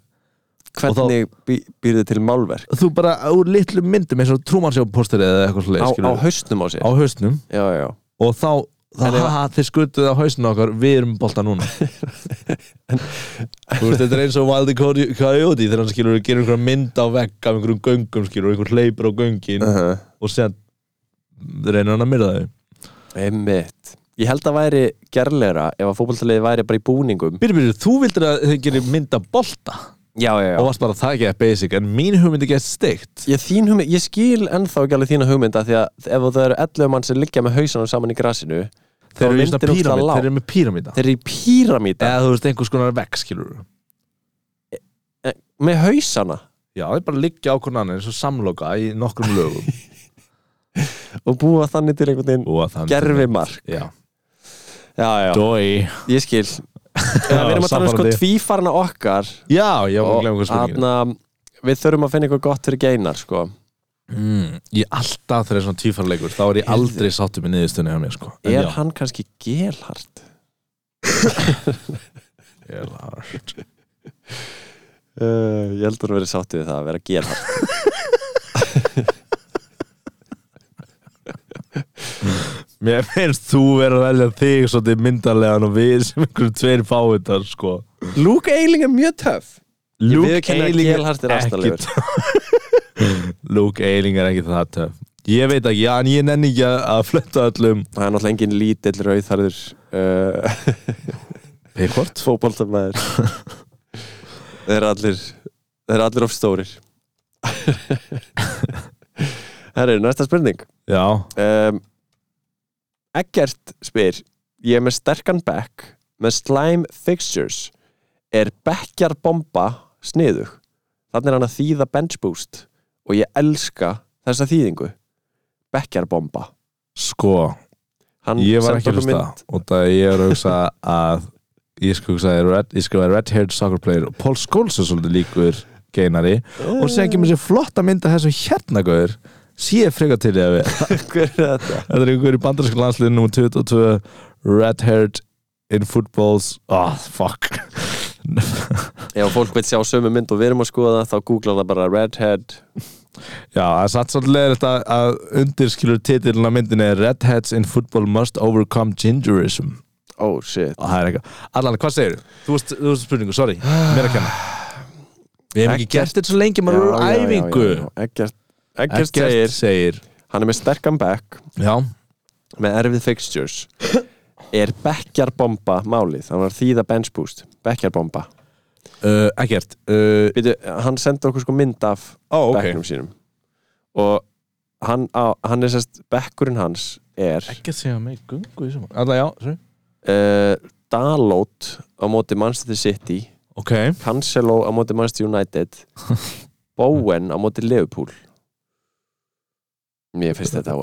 Speaker 3: þá-
Speaker 4: hvernig þá... býrðu til málverk
Speaker 3: þú bara úr litlu myndum eins og trúmansjópósteri eða eitthvað
Speaker 4: á,
Speaker 3: svolítið
Speaker 4: á
Speaker 3: skilur,
Speaker 4: hausnum á sér
Speaker 3: á hausnum
Speaker 4: já, já.
Speaker 3: og þá,
Speaker 4: En
Speaker 3: það,
Speaker 4: ef-
Speaker 3: haha, þeir skutuðu á hausnum okkar, við erum bolta núna þú veist, þetta er eins og Wildy Coy- Coyote þegar hann skilur, gerir einhverja mynd á vegg af einhverjum göngum skilur, einhver hleypur á göngin
Speaker 4: Eh.
Speaker 3: og séðan reynir hann að myrða þau
Speaker 4: Einmitt. Ég held að væri gerleira ef að fótboltaliði væri bara í búningum.
Speaker 3: Byrju, byrju, þú vildir að þau gerir mynda bolta
Speaker 4: Já, já,
Speaker 3: og varst bara að taka það basic en mín hugmynd er gett steikt
Speaker 4: Ég, þín hugmynd, ég skil ennþá ekki alveg þína hugmynda því að ef það eru 11 mann sem liggja með hausanum saman í grasinu þá
Speaker 3: þeir eru, í
Speaker 4: myndir
Speaker 3: svona
Speaker 4: ógeðslega
Speaker 3: píramid,
Speaker 4: lág.
Speaker 3: þeir eru með píramíta
Speaker 4: Þeir eru í píramíta
Speaker 3: eða þú veist einhvers konar vekk skilur
Speaker 4: með hausana
Speaker 3: já, þeir bara liggja á konan eins og samloka í nokkrum lögum
Speaker 4: *laughs* og búa þannig til einhvern veginn
Speaker 3: og þannig
Speaker 4: gerfi mark
Speaker 3: já,
Speaker 4: Já, já,
Speaker 3: dói
Speaker 4: ég skil
Speaker 3: *laughs*
Speaker 4: Já, Við erum að tala um sko
Speaker 3: sannfærandi.
Speaker 4: tvífarna okkar
Speaker 3: já, já, og,
Speaker 4: og
Speaker 3: glemum hvað spurningin
Speaker 4: atna, við þurfum að finna eitthvað gott fyrir geinar sko.
Speaker 3: mm, ég alltaf þegar er svona tvífarleikur þá er ég aldrei sáttu með niðurstunni hjá mér sko En
Speaker 4: Er
Speaker 3: já,
Speaker 4: hann kannski gelhart?
Speaker 3: ég er hart.
Speaker 4: Uh, ég held að vera sáttið við það að vera gelhart
Speaker 3: mér finnst þú vera að velja þig svolítið myndarlegan og við sem einhverjum tveir fávitar sko
Speaker 4: Luke Eiling er mjög töff
Speaker 3: Luke
Speaker 4: viðurkenni að
Speaker 3: Eiling
Speaker 4: Gelhart er
Speaker 3: ekki
Speaker 4: aftarlegur.
Speaker 3: töff. Luke Eiling er ekki það töf Ég veit ekki, já, en ég nenni ekki að að fletta öllum
Speaker 4: Það er náttúrulega engin lítill rauðharður uh, *laughs*
Speaker 3: Pikkvort
Speaker 4: fótboltamæður *laughs* Þeir eru allir Þeir eru allir of *laughs* stórir Herri, næsta spurning
Speaker 3: Já,
Speaker 4: um, Eggert spyr Ég er með sterkan back með slime fixtures er bekkjarbomba sniðug þannig er hann að þýða bench boost og ég elska þessa þýðingu bekkjarbomba
Speaker 3: sko,
Speaker 4: Hann
Speaker 3: ég var ekki
Speaker 4: sendi
Speaker 3: að
Speaker 4: okkur
Speaker 3: hlusta
Speaker 4: mynd-
Speaker 3: og það ég er að hugsa að ég sko hugsa að ég er red, ég skrifaði red haired soccer player og Paul Scholes er svolítið líkur geinari og sem kemur sér flotta mynd að þessu hérna gauður sé ég frekar til ég að við
Speaker 4: Hver er þetta?
Speaker 3: Þetta er einhver í bandarinska landsliðin nr. 22 Red haired in footballs Ah, fuck
Speaker 4: Ef fólk veit sjá sömu mynd og við erum að skoða það, þá googla það bara Redhead
Speaker 3: Já, það er satt svolítið leðilegt að, að undirskilur titilin á myndinni er Redheads in football must overcome gingerism
Speaker 4: Oh shit
Speaker 3: og það er eitthvað Allan, hvað segir þú? Þú varst- Þú veist spurningu, sorry, mér að kenna Við hefum ekki gert þetta svo lengi maður er á æfingu
Speaker 4: já, já. Eggert, Eggert segir
Speaker 3: segir
Speaker 4: Hann er með sterkan back
Speaker 3: Já,
Speaker 4: með erfið fixtures Er bekkjarbomba málið Hann var að þýða bench boost Bekkjarbomba
Speaker 3: uh, ekkert uh,
Speaker 4: Býtu, Hann sendi okkur sko mynd af
Speaker 3: Ó,
Speaker 4: bekknum sínum og hann, á, hann er sérst bekkurinn hans er
Speaker 3: Ekkert segja mig, gungu í saman Alla, já, sorry
Speaker 4: uh, Dalot á móti Manchester City
Speaker 3: Ok,
Speaker 4: Cancelo á móti Manchester United Bowen á móti Liverpool Mér finnst þetta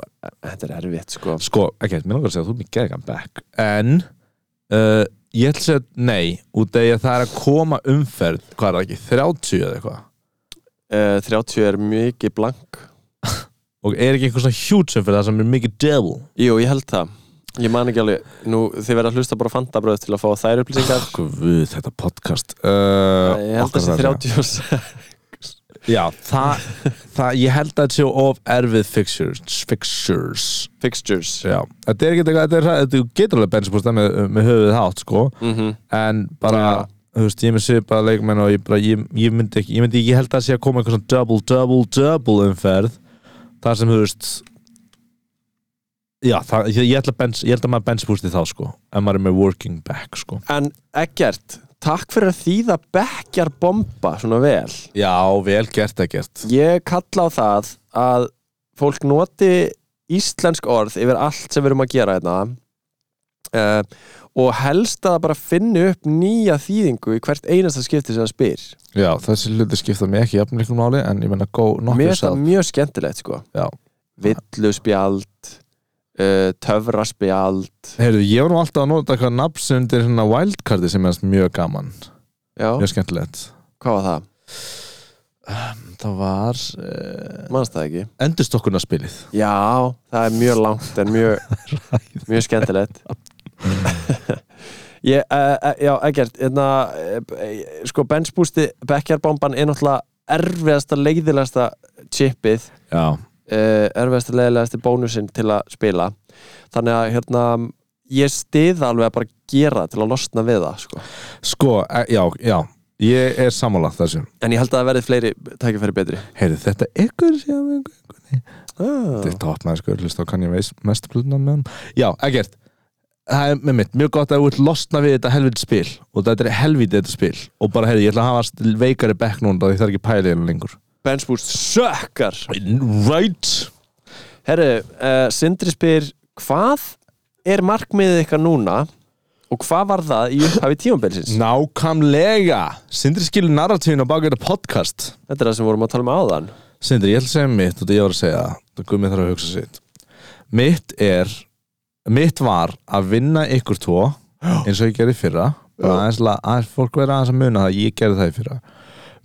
Speaker 4: þetta er erfitt sko
Speaker 3: sko, ekki, mér langar að segja að þú er mér geðgan back En uh, Ég ætla að segja nei Út af því að það er að koma umferð Hvað er það ekki, 30 eða eitthvað
Speaker 4: uh, 30 er mikið blank
Speaker 3: Og er ekki einhver svona hjúts umferð Það sem er mikið devil
Speaker 4: Jú, ég held það Ég man ekki alveg, nú þið verða að hlusta bara á fandabröð til að fá þær upplýsingar
Speaker 3: Guð, þetta podcast uh,
Speaker 4: Ég held
Speaker 3: okkar
Speaker 4: þessi
Speaker 3: þarf að-
Speaker 4: 30 og s-
Speaker 3: Já, það, það, ég held að þetta séu of erfið fixtures, fixtures.
Speaker 4: fixtures
Speaker 3: Já, þetta er ekki eitthvað, þetta er hræ- þetta þú getur alveg bensbústa með, með höfuðið hátt, sko
Speaker 4: mm
Speaker 3: en bara,
Speaker 4: Já.
Speaker 3: þú veist, ég með svipaða leikmenn og ég, bara, ég, ég myndi ekki, ég myndi ekki ég held að það sé að koma eitthvað svona double, double, double umferð, þar sem, þú veist já, það, ég, ég held að bens, ég held að maður bensbústi þá, sko, en maður er með working back, sko.
Speaker 4: En Eggert, takk fyrir að þýða bekkjar bomba svona vel
Speaker 3: Já, vel gert að gert.
Speaker 4: Ég kalla á það að fólk noti íslensk orð yfir allt sem við erum að gera hérna uh, og helst að það bara finni upp nýja þýðingu í hvert einasta skipti sem það spyr
Speaker 3: Já, þessi hluti skipta mig ekki jafnleikum máli, en ég menna, go,
Speaker 4: Mér
Speaker 3: nokkuð
Speaker 4: finnst það mjög skemmtilegt sko
Speaker 3: Já.
Speaker 4: Villuspjald uh, Töfraspjald
Speaker 3: Heyrðu, ég var nú alltaf að nota eitthvað nafn sem undir hérna wildcardi sem er mjög gaman
Speaker 4: Já,
Speaker 3: Mjög skemmtilegt
Speaker 4: hvað var það?
Speaker 3: Það var uh,
Speaker 4: Manst það ekki?
Speaker 3: endurstokkunarspilið
Speaker 4: Já, það er mjög langt en *laughs* mjög, mjög skemmtilegt *laughs* ég, uh, Já, ekkert hérna, uh, sko benchbústi bekkjarbomban er náttúrulega erfiðasta leiðilegasta chipið
Speaker 3: Já,
Speaker 4: uh, erfiðasta leiðilegasti bónusinn til að spila þannig að hérna ég stiða alveg að bara gera það til að losna við það sko.
Speaker 3: sko, e, já, já Ég er samanlagt þessu
Speaker 4: en ég held að það verði fleiri tækifæri betri
Speaker 3: Heyrðu, þetta ykkur sem ykkur
Speaker 4: ah.
Speaker 3: Þetta opnaði sko, hlusta á kann ég veist mest blutna með hann Já, ekkert Það er með mitt, mjög gott að þú ert losna við þetta helviti spil og þetta er helviti þetta spil og bara, heyrðu, ég ætla að hafa veikari bekk núna þá ég þarf ekki pælið hennar lengur
Speaker 4: benchbúst sökkar
Speaker 3: Right
Speaker 4: Herru, uh, Sindri spyr hvað er markmiðið ykkar núna og hvað var það í upphafi tímambilsins?
Speaker 3: Nákvæmlega Sindri skilur narratífin á baka þetta podcast
Speaker 4: Þetta er það sem vorum að tala um áðan
Speaker 3: Sindri, ég ætla að segja mitt og þetta ég var að segja það Gumi þarf að hugsa sitt Mitt er Mitt var að vinna ykkur tvo eins og ég gerði í fyrra bara aðeins, la- aðeins fólk vera aðeins að muna það ég gerði það í fyrra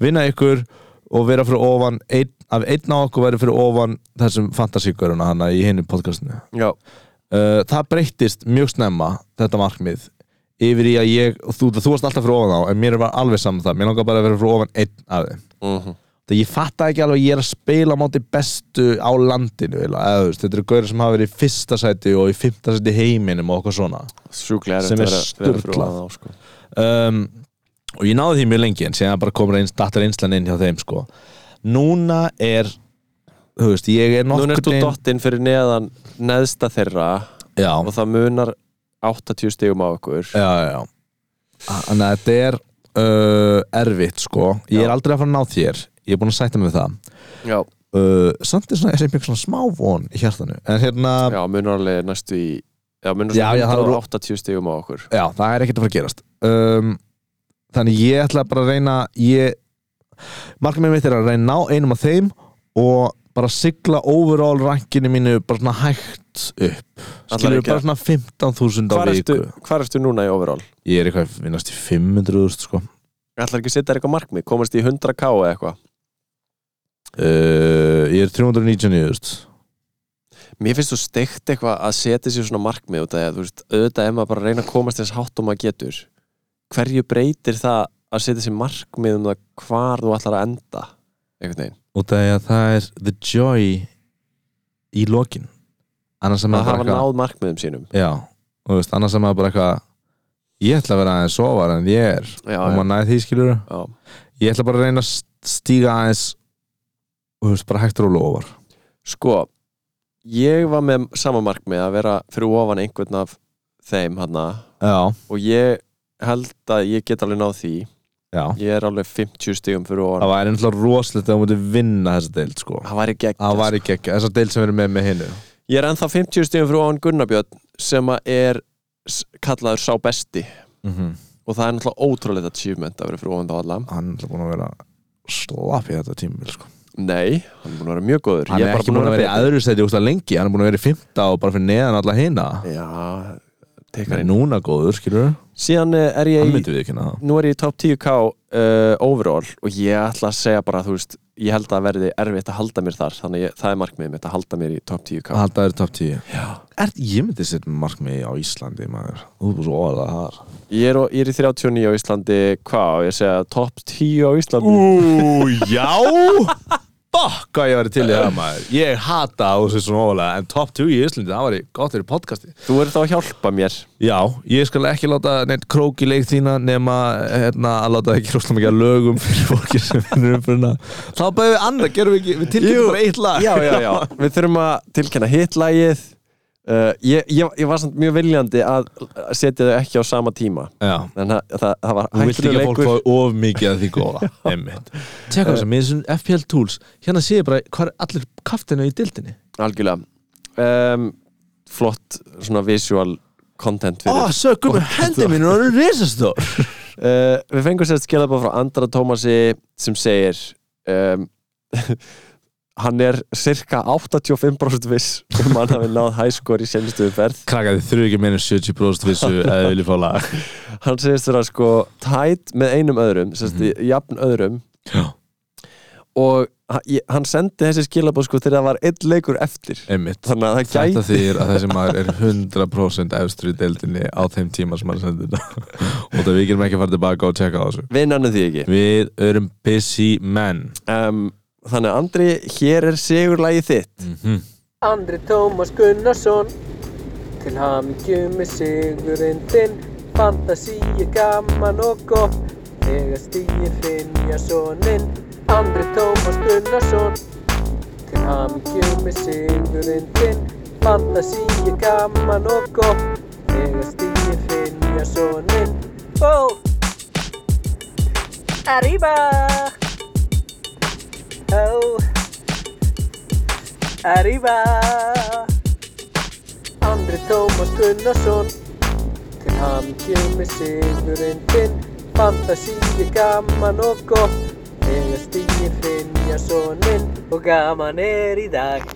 Speaker 3: vinna ykkur og vera fyrir ofan ein, af einn á okkur verið fyrir ofan þessum fantasíkuruna hana í hinu podcastinu
Speaker 4: Já,
Speaker 3: uh, það breyttist mjög snemma þetta markmið yfir í að ég, þú, þú varst alltaf fyrir ofan á en mér var alveg saman það, mér langar bara að vera fyrir ofan einn af þeim
Speaker 4: Mhm.
Speaker 3: það ég fatta ekki alveg að ég er að spila á móti bestu á landinu eiginlega, eða, þú veist, þetta eru gauður sem hafa verið í fyrsta sæti og í fymta sæti í heiminum og okkur svona
Speaker 4: sjúklega
Speaker 3: Sem er
Speaker 4: erfitt að vera- vera fyrir
Speaker 3: sturlað.
Speaker 4: ofan á, sko.
Speaker 3: um, og ég náði því mjög lengi en síðan bara komur eins, dattar einslan inn hjá þeim sko. núna er þú veist, ég er
Speaker 4: Núna ert þú
Speaker 3: nokkur
Speaker 4: dottinn fyrir neðan neðsta þeirra
Speaker 3: já,
Speaker 4: og það munar 80 stigum á okkur
Speaker 3: já, já, já. Þannig að þetta er uh, erfitt sko Ég er
Speaker 4: Já.
Speaker 3: aldrei að fara að ná þér Ég er búin að sætta mig við það
Speaker 4: Já,
Speaker 3: uh, Samt er svona, er einhver svona smá von í hjartanu En hérna, já,
Speaker 4: já munar alveg næstu í Já, munar
Speaker 3: Já, já, það
Speaker 4: svona
Speaker 3: eru-
Speaker 4: 180 stigum á okkur
Speaker 3: það er ekkert að fara að gerast um, Þannig ég ætla bara að reyna ég, Markmið mitt er að reyna að ná einum af þeim Og bara sigla overall rankinu mínu Bara svona hægt upp Skilur
Speaker 4: ekki
Speaker 3: bara
Speaker 4: að-
Speaker 3: svona 15.000 á
Speaker 4: Hvar
Speaker 3: viku
Speaker 4: ertu, hvar ertu núna í overall?
Speaker 3: Ég er eitthvað vinnast í 500.000 sko
Speaker 4: Ætlar ekki að setja þér eitthvað markmið? Komast í 100k eða eitthvað?
Speaker 3: uh, Ég er 399.000
Speaker 4: Mér finnst þú steikt eitthvað að setja sér svona markmið út af því að þú veist, auðvitað ef maður bara reyna að komast eins hátt og maður getur hverju breytir það að setja sér markmið um það hvar þú ætlar að enda einhvern veginn,
Speaker 3: út af því að það er the joy í lokin annars sem
Speaker 4: að
Speaker 3: maður
Speaker 4: hafa
Speaker 3: bara
Speaker 4: náð markmiðum sínum
Speaker 3: eitthvað já, og þú veist, annars sem maður bara eitthvað ég ætla að vera aðeins sofar en ég er og
Speaker 4: Já, já.
Speaker 3: maður næði því skilur
Speaker 4: Já.
Speaker 3: ég ætla bara að reyna að st- stíga aðeins og þú veist, bara hægt rólu ofar
Speaker 4: Sko, ég var með sama markmið að vera fyrir ofan einhvern af þeim hana
Speaker 3: já,
Speaker 4: og ég held að ég get alveg náð því
Speaker 3: já
Speaker 4: ég er alveg 50 stigum fyrir ofan
Speaker 3: það væri ennþá rosalegt að þú mútið vinna þessa deild sko
Speaker 4: það væri gegn
Speaker 3: það væri ekki ekki, þessa deild sem við erum með með hinnu
Speaker 4: Ég er ennþá 50 stíðum frá án Gunnarbjörn sem að er s- kallaður sá besti
Speaker 3: Mhm.
Speaker 4: og það er náttúrulega ótrúlega achievement að vera fyrir ofan þá alla
Speaker 3: Hann er búin að vera slapp í þetta tímil sko.
Speaker 4: Nei, hann er búin að vera mjög góður
Speaker 3: Hann
Speaker 4: Ég
Speaker 3: er
Speaker 4: bara
Speaker 3: ekki búin að vera í
Speaker 4: betri.
Speaker 3: aðru seti úsla lengi Hann er búin að vera í fymta og bara fyrir neðan alla hina
Speaker 4: Já,
Speaker 3: Hann
Speaker 4: tekar
Speaker 3: er
Speaker 4: inn
Speaker 3: núna góður, skilur
Speaker 4: Síðan eh, er
Speaker 3: Hann
Speaker 4: ég í
Speaker 3: myndi við ekki hana
Speaker 4: Nú er ég í top 10k uh, overall og ég ætla að segja bara, þú veist ég held að það verði erfitt að halda mér þar þannig ég, það er markmiðið mitt að halda mér í top 10k
Speaker 3: Að halda þér top 10 er, Ég myndi setja markmið á Íslandi maður. Þú er svo orðað þar
Speaker 4: ég, er, á- ég er í 39 á Íslandi hvað, á ég að segja top 10 á Íslandi
Speaker 3: Ú, já Bakka ég væri til í það maður Ég hata á þessu svona ofalega En top 2 í Íslandi, það væri gott fyrir podcasti
Speaker 4: Þú eru þá að hjálpa mér
Speaker 3: Já, ég skal ekki láta neitt krók í leik þína nema hérna, að láta ekki rústa mikið að lögum fyrir fólki sem finnur um fyrir hana Þá bæðum við annað, gerum við ekki, við tilkynum bara eitt lag
Speaker 4: Já, já, já, *laughs* við þurfum að tilkenna hitlagið uh, ég, ég, ég var samt mjög viljandi að setja þau ekki á sama tíma
Speaker 3: já
Speaker 4: en það, það, það var
Speaker 3: Þú vilt ekki að fólk
Speaker 4: leikur.
Speaker 3: fái of mikið að því *laughs* góða Einmitt Tjekka þess að með þessum FPL tools Hérna séu bara hvað er allir kaftinu í dildinni
Speaker 4: Algjörlega um, Flott svona visual content fyrir
Speaker 3: Ó, sökum við hendi mínu og hann er risastór
Speaker 4: Uh, við fengum sérst skilabóð frá Andra Tómasi sem segir um, *laughs* hann er cirka 85% viss um að hann hafi náð hæskor í senstu umferð
Speaker 3: Krakka þið þurfi ekki meina 70% vissu eða þið viljið fá lag
Speaker 4: hann segist þurra sko tætt með einum öðrum sérst mm
Speaker 3: Mhm.
Speaker 4: jafn öðrum
Speaker 3: Já,
Speaker 4: og ha- ég- hann sendi þessi skilabóð sko þegar það var einn leikur eftir
Speaker 3: einmitt
Speaker 4: þannig að það
Speaker 3: Þetta
Speaker 4: gæti
Speaker 3: þýðir að þessi maður er 100% efstur í deildinni á þeim tíma sem hann sendir þetta og það við gerum ekki að fara tilbaka og tjekka á þessu
Speaker 4: vinnanum því ekki
Speaker 3: Við erum busy menn
Speaker 4: um, þannig að Andri, hér er sigurlægi þitt
Speaker 5: Andri Tómas Gunnarsson Til hamingju með sigurinn þinn Fantasí er gaman og gott Þegar stíði finnja soninn Andri Tómas Gunnarsson Til hamingju með sigurinn þinn Fantasí er gaman og gott Þegar stíði finnja soninn Ó! Arriba! Ó! Arriba Andri Tómas Gunnarsson Til hamingju með sigurinn þinn Fantasí er gaman og gott Þegar stíðir finnja soninn Og gaman er í dag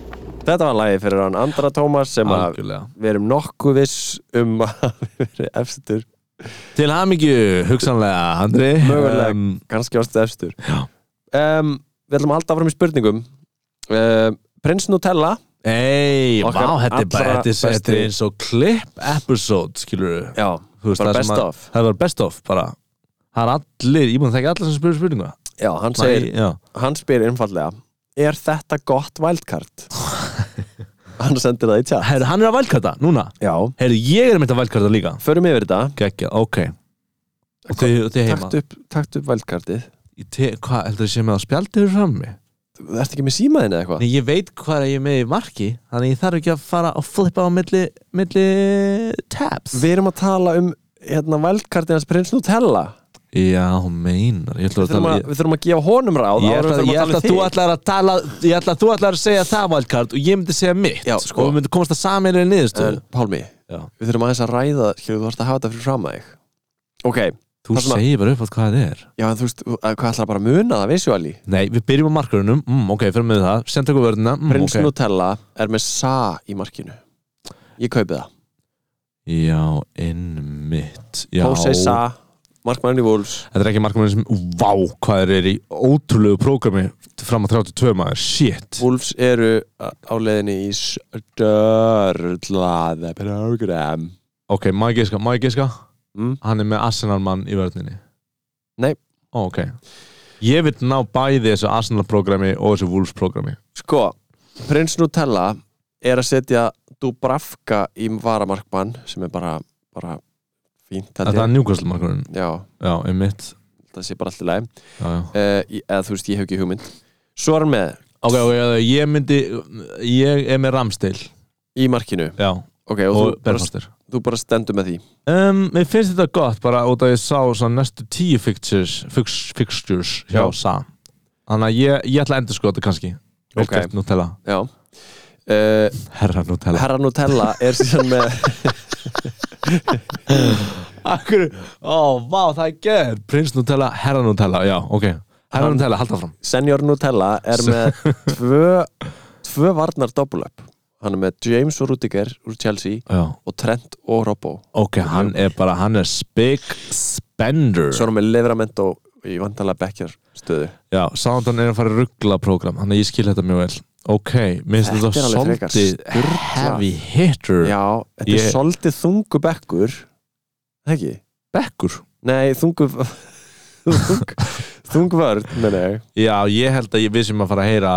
Speaker 4: Þetta var lagið fyrir hann Andra Tómas sem að
Speaker 3: Algjörlega.
Speaker 4: við erum nokkuð viss um að *laughs* hafi verið efstur
Speaker 3: Til hamingju, hugsanlega, Andri
Speaker 4: Mögulega.
Speaker 3: Um,
Speaker 4: kannski ástu efstur
Speaker 3: Já.
Speaker 4: um, Við ætlum að halda áfram í spurningum um, Prins Nutella
Speaker 3: Ei,
Speaker 4: Okkar
Speaker 3: vá, þetta er bara
Speaker 4: allra
Speaker 3: þetta er- þetta er
Speaker 4: besti.
Speaker 3: eins og clip episode, skilur við
Speaker 4: Já, bara best of
Speaker 3: Það var best of, bara Það er allir, ég mun þekki allir sem spyrir spurningu
Speaker 4: Já, hann segir,
Speaker 3: Nei, já.
Speaker 4: hann spyr einfallega Er þetta
Speaker 3: *laughs*
Speaker 4: gott wildcard? hann sendir það í tjátt
Speaker 3: Herru, hann er að valkarta, núna
Speaker 4: Já,
Speaker 3: Herru, ég er meitt að valkarta líka
Speaker 4: förum yfir þetta
Speaker 3: Gekja, ok Og þið, og þið heima
Speaker 4: Takt upp, takt upp wildcardið
Speaker 3: Ég te- Hvað, heldur þið sé með að spjaldi fyrir frammi?
Speaker 4: Þú ert ekki með símaðin eða eitthvað?
Speaker 3: Nei, ég veit hvað ég er með í marki Þannig ég þarf ekki að fara að flippa á milli, milli tabs
Speaker 4: Við erum að tala um hérna, wildcardið hans Prins Nutella
Speaker 3: Já, hún meinar Ég ætla að
Speaker 4: Við þurfum
Speaker 3: tala
Speaker 4: að, við þurfum að gefa honum
Speaker 3: Ég
Speaker 4: ráð áður en
Speaker 3: ætla,
Speaker 4: við
Speaker 3: ég
Speaker 4: þurfum
Speaker 3: ætla að
Speaker 4: tala
Speaker 3: þú ætlar að
Speaker 4: um þig.
Speaker 3: tala Ég ætla að þú ætlar að segja það valkart Og ég myndi segja mitt
Speaker 4: Já, sko.
Speaker 3: Og við myndum komast að saminlega niðurstöðu
Speaker 4: En, Eh, Pálmi,
Speaker 3: Já.
Speaker 4: við þurfum aðeins að ræða skilur, þú ert að hafa þetta fyrir fram að þig Ok,
Speaker 3: Þú
Speaker 4: það sem að-
Speaker 3: segir bara upp átt hvað það er
Speaker 4: já en þú veist, þú- að hvað ætlar bara að muna það, visuali
Speaker 3: Nei, við byrjum á markarunum mm, Ok, fyrir með það Sent okkur vörðina mm,
Speaker 4: Prins
Speaker 3: ok.
Speaker 4: Nutella er með sa í markinu Ég kaupi það
Speaker 3: Já, innmitt Já
Speaker 4: Jose Sa, markmann í Wolves
Speaker 3: Þetta er ekki markmann sem, vá, hvað þeir eru í ótrúlegu prógrami fram að 32 maður, shit
Speaker 4: Wolves eru á leiðinni í störlaða
Speaker 3: Mm.
Speaker 4: program
Speaker 3: Ok, má ég giska, má ég giska
Speaker 4: Mm.
Speaker 3: Hann er með Arsenal mann í vörninni
Speaker 4: Nei.
Speaker 3: Ó, Ok Ég vil ná bæði þessu Arsenal programmi og þessu Wolves programmi
Speaker 4: Sko, Prins Nutella er að setja Dubravka í varamarkmann sem er bara, bara fínt held
Speaker 3: Þetta
Speaker 4: ég.
Speaker 3: er njúkastl markmann
Speaker 4: Já,
Speaker 3: Já, einmitt
Speaker 4: það sé bara alltaf leið
Speaker 3: já, já.
Speaker 4: uh, eða þú veist, ég hef ekki hugmynd svo er hann með
Speaker 3: Ok, ok, ok, ég myndi Ég er með Ramstil
Speaker 4: í markinu
Speaker 3: Já,
Speaker 4: ok,
Speaker 3: og
Speaker 4: og, þú, bara,
Speaker 3: Berfaster
Speaker 4: þú bara stendur með því
Speaker 3: um, Mér finnst þetta gott bara út að ég sá svo, næstu tíu fixtures, fix, fixtures hjá
Speaker 4: Já.
Speaker 3: Sa Þannig að ég, ég ætla að endur sko þetta kannski
Speaker 4: Ok.
Speaker 3: Vilkert Nutella
Speaker 4: já uh,
Speaker 3: Herra Nutella
Speaker 4: Herra Nutella er síðan með
Speaker 3: Akkur, ó, vá, það er geður Prins Nutella, Herra Nutella, já, ok Herra Nutella, halda fram
Speaker 4: Senior Nutella er með tvö, tvö varnar doppelöp hann er með James og Rudiger úr Chelsea
Speaker 3: Já,
Speaker 4: og Trent og Robbo
Speaker 3: ok, hann er bara, hann er Spig Spender
Speaker 4: svo er hann með Livramento í vandalega bekkjar stöðu
Speaker 3: Já, Soundon er að fara að ruggla prógram Þannig að ég skil þetta mjög vel Ok, minnst
Speaker 4: Þetta
Speaker 3: þetta
Speaker 4: er alveg frekar
Speaker 3: svolítið
Speaker 4: sturlað.
Speaker 3: heavy hitter
Speaker 4: já, þetta
Speaker 3: Ég-
Speaker 4: er svolítið þungu bekkur ekki?
Speaker 3: Bekkur
Speaker 4: Nei, þungu *laughs* þung, þung vörn menn ég
Speaker 3: Já, ég held að ég vissum að fara að heyra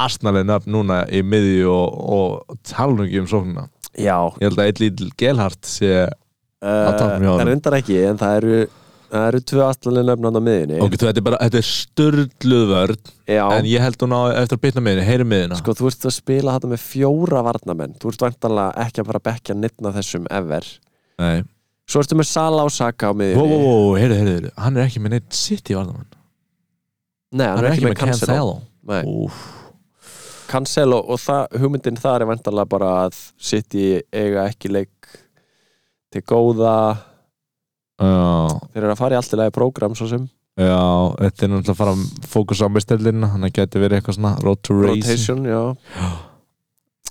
Speaker 3: Asnalinn upp núna í miðju og, og talungi um sóknuna
Speaker 4: já,
Speaker 3: Ég held að eitt lítil gelhart sé
Speaker 4: uh,
Speaker 3: taflum hjá
Speaker 4: það
Speaker 3: honum.
Speaker 4: reyndar ekki en það eru, það eru tvö allanlega nöfnand á miðinni
Speaker 3: Ok, þú, þetta er bara, þetta er sturdluð vörn
Speaker 4: já,
Speaker 3: En ég held hún á eftir að bytna miðinu, heyri miðina
Speaker 4: sko þú ert að spila þetta með fjóra varnamenn þú ert vantanlega ekki að fara að bekkja nittna þessum ever
Speaker 3: Nei
Speaker 4: svo ertu með Sala og Saka á miðinni
Speaker 3: Wow, wow, wow, heyri, heyri, heyri Hann er ekki með neitt sitt í vardamann
Speaker 4: nei, hann, er ekki með Cancelo Nei.
Speaker 3: Úff,
Speaker 4: Cancelo og það, hugmyndin þar er vantarlega bara að City eiga ekki leik til góða
Speaker 3: Já
Speaker 4: þeir eru að fara í allt í lagi prógram svo sem
Speaker 3: Já, þetta er náttúrulega að fara að fókusa á mistellina, hann geti verið eitthvað svona road to race.
Speaker 4: rotation, já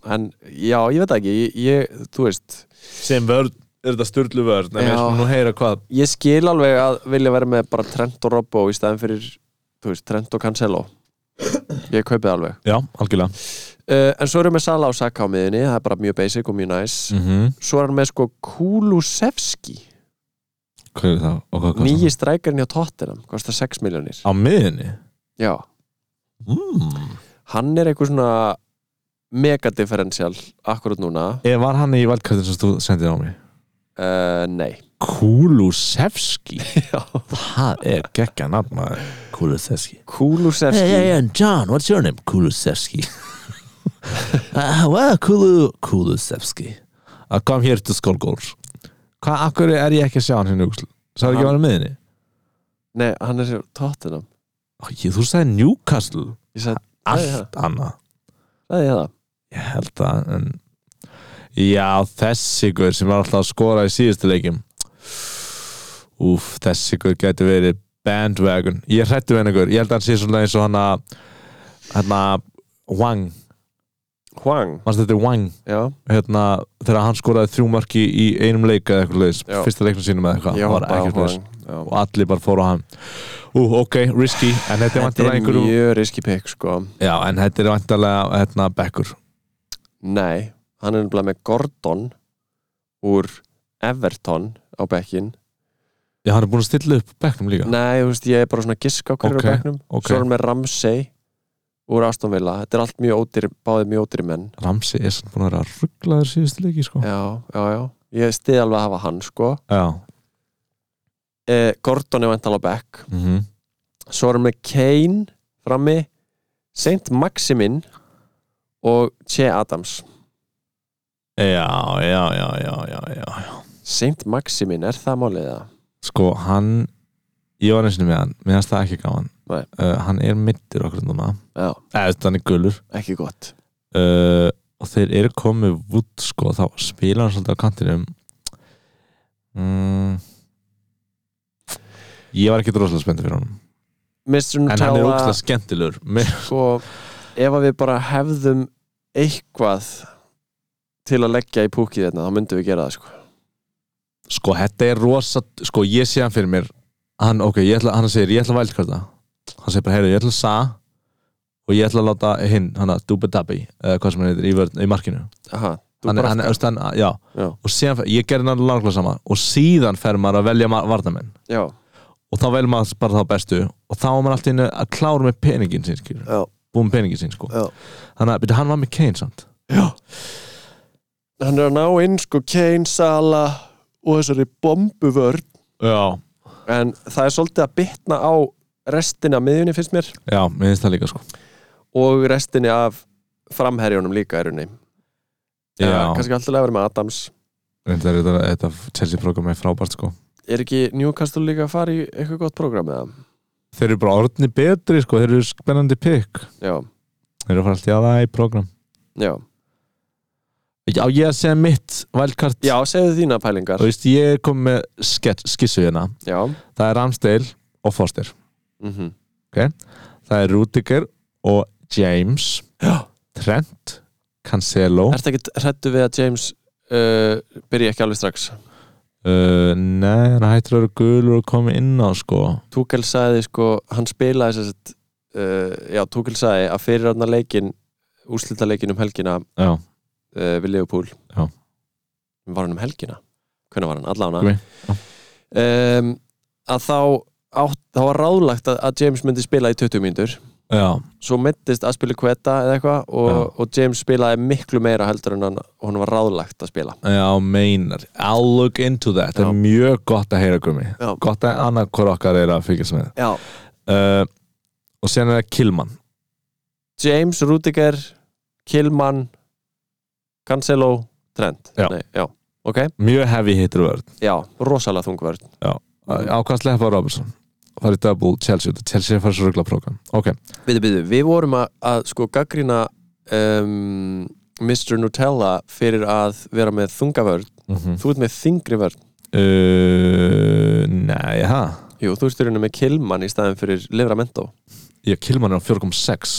Speaker 4: en já, ég veit það ekki ég, ég, þú veist,
Speaker 3: Sem vörð, er þetta styrlu vörð,
Speaker 4: Nei, við skulum nú
Speaker 3: heyra hvað.
Speaker 4: ég skil alveg að vilja vera með bara Trent og Robbo í staðin fyrir þú veist, Trent og Cancelo ég kaupið alveg
Speaker 3: Já, algjörlega.
Speaker 4: uh, en svo erum við Sala og Saka á miðinni það er bara mjög basic og mjög nice
Speaker 3: Mm
Speaker 4: svo er hann með sko Kulusevski
Speaker 3: Hvað er það? Og hvað kostar
Speaker 4: nýji strækarinn hjá Tottenham kostar 6 miljónir
Speaker 3: það? Á miðinni?
Speaker 4: já,
Speaker 3: Mm.
Speaker 4: hann er eitthvað svona megadifferential akkurat núna
Speaker 3: Ég Eh, var hann í valkartin sem þú sendið á mig.
Speaker 4: uh, nei
Speaker 3: *laughs* Kulusevski? það er geggja nafn, maður. Kulusevski.
Speaker 4: Kulusevski
Speaker 3: and John, what's your name? *laughs* Kulusevski. uh, well, Kulu, Kulusevski. I come here to score goals. Hvað, akkur er ég ekki að sjá hann hérna úksl? Sæður ekki að vera með henni?
Speaker 4: nei, hann er hjá Tottenham
Speaker 3: Ó, Ég, þú sagði Newcastle.
Speaker 4: ég sagði Já, já.
Speaker 3: Allt annað.
Speaker 4: sagði ég það
Speaker 3: Ég held að, en... Já, þessi guður sem var alltaf að skora í síðustu leikjum. Úf, þessi guður gæti verið bandwagon. Ég er hrættu við henni guður. Ég held að hann sé svona eins og hann að... Hann að... Wang.
Speaker 4: Hwang
Speaker 3: Manstu þetta er Wang.
Speaker 4: já,
Speaker 3: hérna, þegar hann skoraði þrjú marki í einum leik eða eitthvað leiðis,
Speaker 4: Já.
Speaker 3: fyrsta leiknum sínum eða eitthvað,
Speaker 4: ég
Speaker 3: það var
Speaker 4: hoppaði á
Speaker 3: ekkert leiðis
Speaker 4: Hwang já.
Speaker 3: og allir bara fóru á hann Ú, ok, risky, en þetta er
Speaker 4: þetta
Speaker 3: vantilega
Speaker 4: er
Speaker 3: einhverjum
Speaker 4: mjög riski pick sko
Speaker 3: Já, en þetta er vantilega hérna, bekkur
Speaker 4: nei, hann er nefnilega með Gordon úr Everton á bekkin
Speaker 3: Já, hann er búin að stilla upp bekknum líka
Speaker 4: nei, þú veist, ég er bara svona að giska á hverju
Speaker 3: Ok,
Speaker 4: okay. bekknum
Speaker 3: ok.
Speaker 4: svo er hann með Ramsey úr Aston Villa þetta er allt mjög ódýr, báðið mjög ódýr menn
Speaker 3: Ramsey er sann búin að vera að rugglaður síðustu leiki, sko Já,
Speaker 4: já, já, já, ég stiði alveg að hafa hann sko eh, Gordon er vantan á bekk
Speaker 3: mhm.
Speaker 4: svo erum við Kane frammi Saint Maximin og Che Adams
Speaker 3: já, já, já, já, já, já
Speaker 4: Saint Maximin, er það málið það?
Speaker 3: Sko, hann Ég var eins og með hann, mér finnst það ekki gaman
Speaker 4: Nei.
Speaker 3: uh, Hann er middir okkur núna
Speaker 4: Já,
Speaker 3: Eða, þetta hann er gulur
Speaker 4: ekki gott
Speaker 3: uh, og þeir eru komið vút sko þá spila hann svolítið á kantinum mm. ég var ekki droslega spennt fyrir honum
Speaker 4: Mr.
Speaker 3: en hann er
Speaker 4: Nutella,
Speaker 3: ógstlega skemmtilegur Mér-
Speaker 4: sko ef að við bara hefðum eitthvað til að leggja í púkið þarna, þá myndum við gera það sko
Speaker 3: sko þetta er rosa sko ég sé hann fyrir mér hann, ok, ég ætla, hann segir ég ætla að vældkvarta hann segir bara heyrðu ég ætla að sa og ég ætla að láta hinn hann að dubadabi eða hvað sem hann heitir í, vörn, í markinu
Speaker 4: Aha, þú
Speaker 3: hann, er- hann,
Speaker 4: bara hann,
Speaker 3: er- veist, hann, já,
Speaker 4: Já.
Speaker 3: og síðan fer- ég gerði hann langlega sama og síðan fer maður að velja mar- varnamenn
Speaker 4: Já,
Speaker 3: og þá vel maður bara þá bestu og þá var maður alltaf innu að klára með peningin sín skilur,
Speaker 4: já,
Speaker 3: búið með peningin sín sko
Speaker 4: já
Speaker 3: þannig að byrja, hann var með Kane samt
Speaker 4: Hann er að ná inn sko Kane, Salah og þessari bombuvörn
Speaker 3: já,
Speaker 4: en það er svolítið að bitna á restina af miðjunni finnst mér
Speaker 3: já, mér finnst það líka sko
Speaker 4: og restinni af framherjunum líka er unni
Speaker 3: já,
Speaker 4: kannski alltaf að vera með Adams
Speaker 3: reyndar er þetta, þetta Chelsea program er frábært sko
Speaker 4: er ekki Newcastle líka að fara í eitthvað gott prógram eða?
Speaker 3: þeir eru bara orðni betri sko, þeir eru spennandi pick
Speaker 4: Já,
Speaker 3: þeir eru að fara alltaf í aða í program
Speaker 4: já
Speaker 3: Já, ég að segja mitt wildcard
Speaker 4: Já, segðu þína pælingar
Speaker 3: Þú veist, ég kom með skets, skissu hérna
Speaker 4: Já,
Speaker 3: Það er Ramsdale og Foster
Speaker 4: mm
Speaker 3: Það er Rudiger og James
Speaker 4: Já.
Speaker 3: Trent Cancelo
Speaker 4: Ertu ekkert hrættu við að James uh, byrja ekki alveg strax
Speaker 3: uh, Nei, hann hættur að vera gulur og koma inn á sko
Speaker 4: Túkel sagði sko, hann spilaði þess að uh, já, Túkel sagði að fyrir hann að leikin úrslita leikin um helgina
Speaker 3: Já,
Speaker 4: uh, við Leopold
Speaker 3: Já.
Speaker 4: Var hann um helgina? Hvernig var hann?
Speaker 3: Nei,
Speaker 4: Allána um, að þá, átt, þá var ráðlagt að, að James myndi spila í 20 mínútur
Speaker 3: já,
Speaker 4: svo mittist að spila kveta eða eitthvað og,
Speaker 3: Já.
Speaker 4: og James spilaði miklu meira heldur en hann, hann var ráðlagt að spila
Speaker 3: já, meinar I'll look into that, það
Speaker 4: Já.
Speaker 3: er mjög gott að heyra gumi
Speaker 4: Já.
Speaker 3: Gott að annað hvort okkar er að fylgjast með
Speaker 4: Já.
Speaker 3: uh, Og sen er það Kilman
Speaker 4: James, Rudiger, Kilman Cancelo, Trent
Speaker 3: Já.
Speaker 4: Nei, já. ok,
Speaker 3: Mjög heavy hittur vörð
Speaker 4: já, rosalega þungvörn
Speaker 3: Ákvæmst Lefa Robertson Það er double Chelsea, þetta er Chelsea að fara svo ruggla prógram Ok,
Speaker 4: Býtu, býtu, við vorum að, að sko gaggrina um, Mr. Nutella fyrir að vera með þungavörn
Speaker 3: mm -hmm.
Speaker 4: þú ert með þingri vörn
Speaker 3: uh, Nei, hæ
Speaker 4: Jú, þú ert í rauninu með Kilman í staðin fyrir Livramento
Speaker 3: Já, Kilman er á 4.6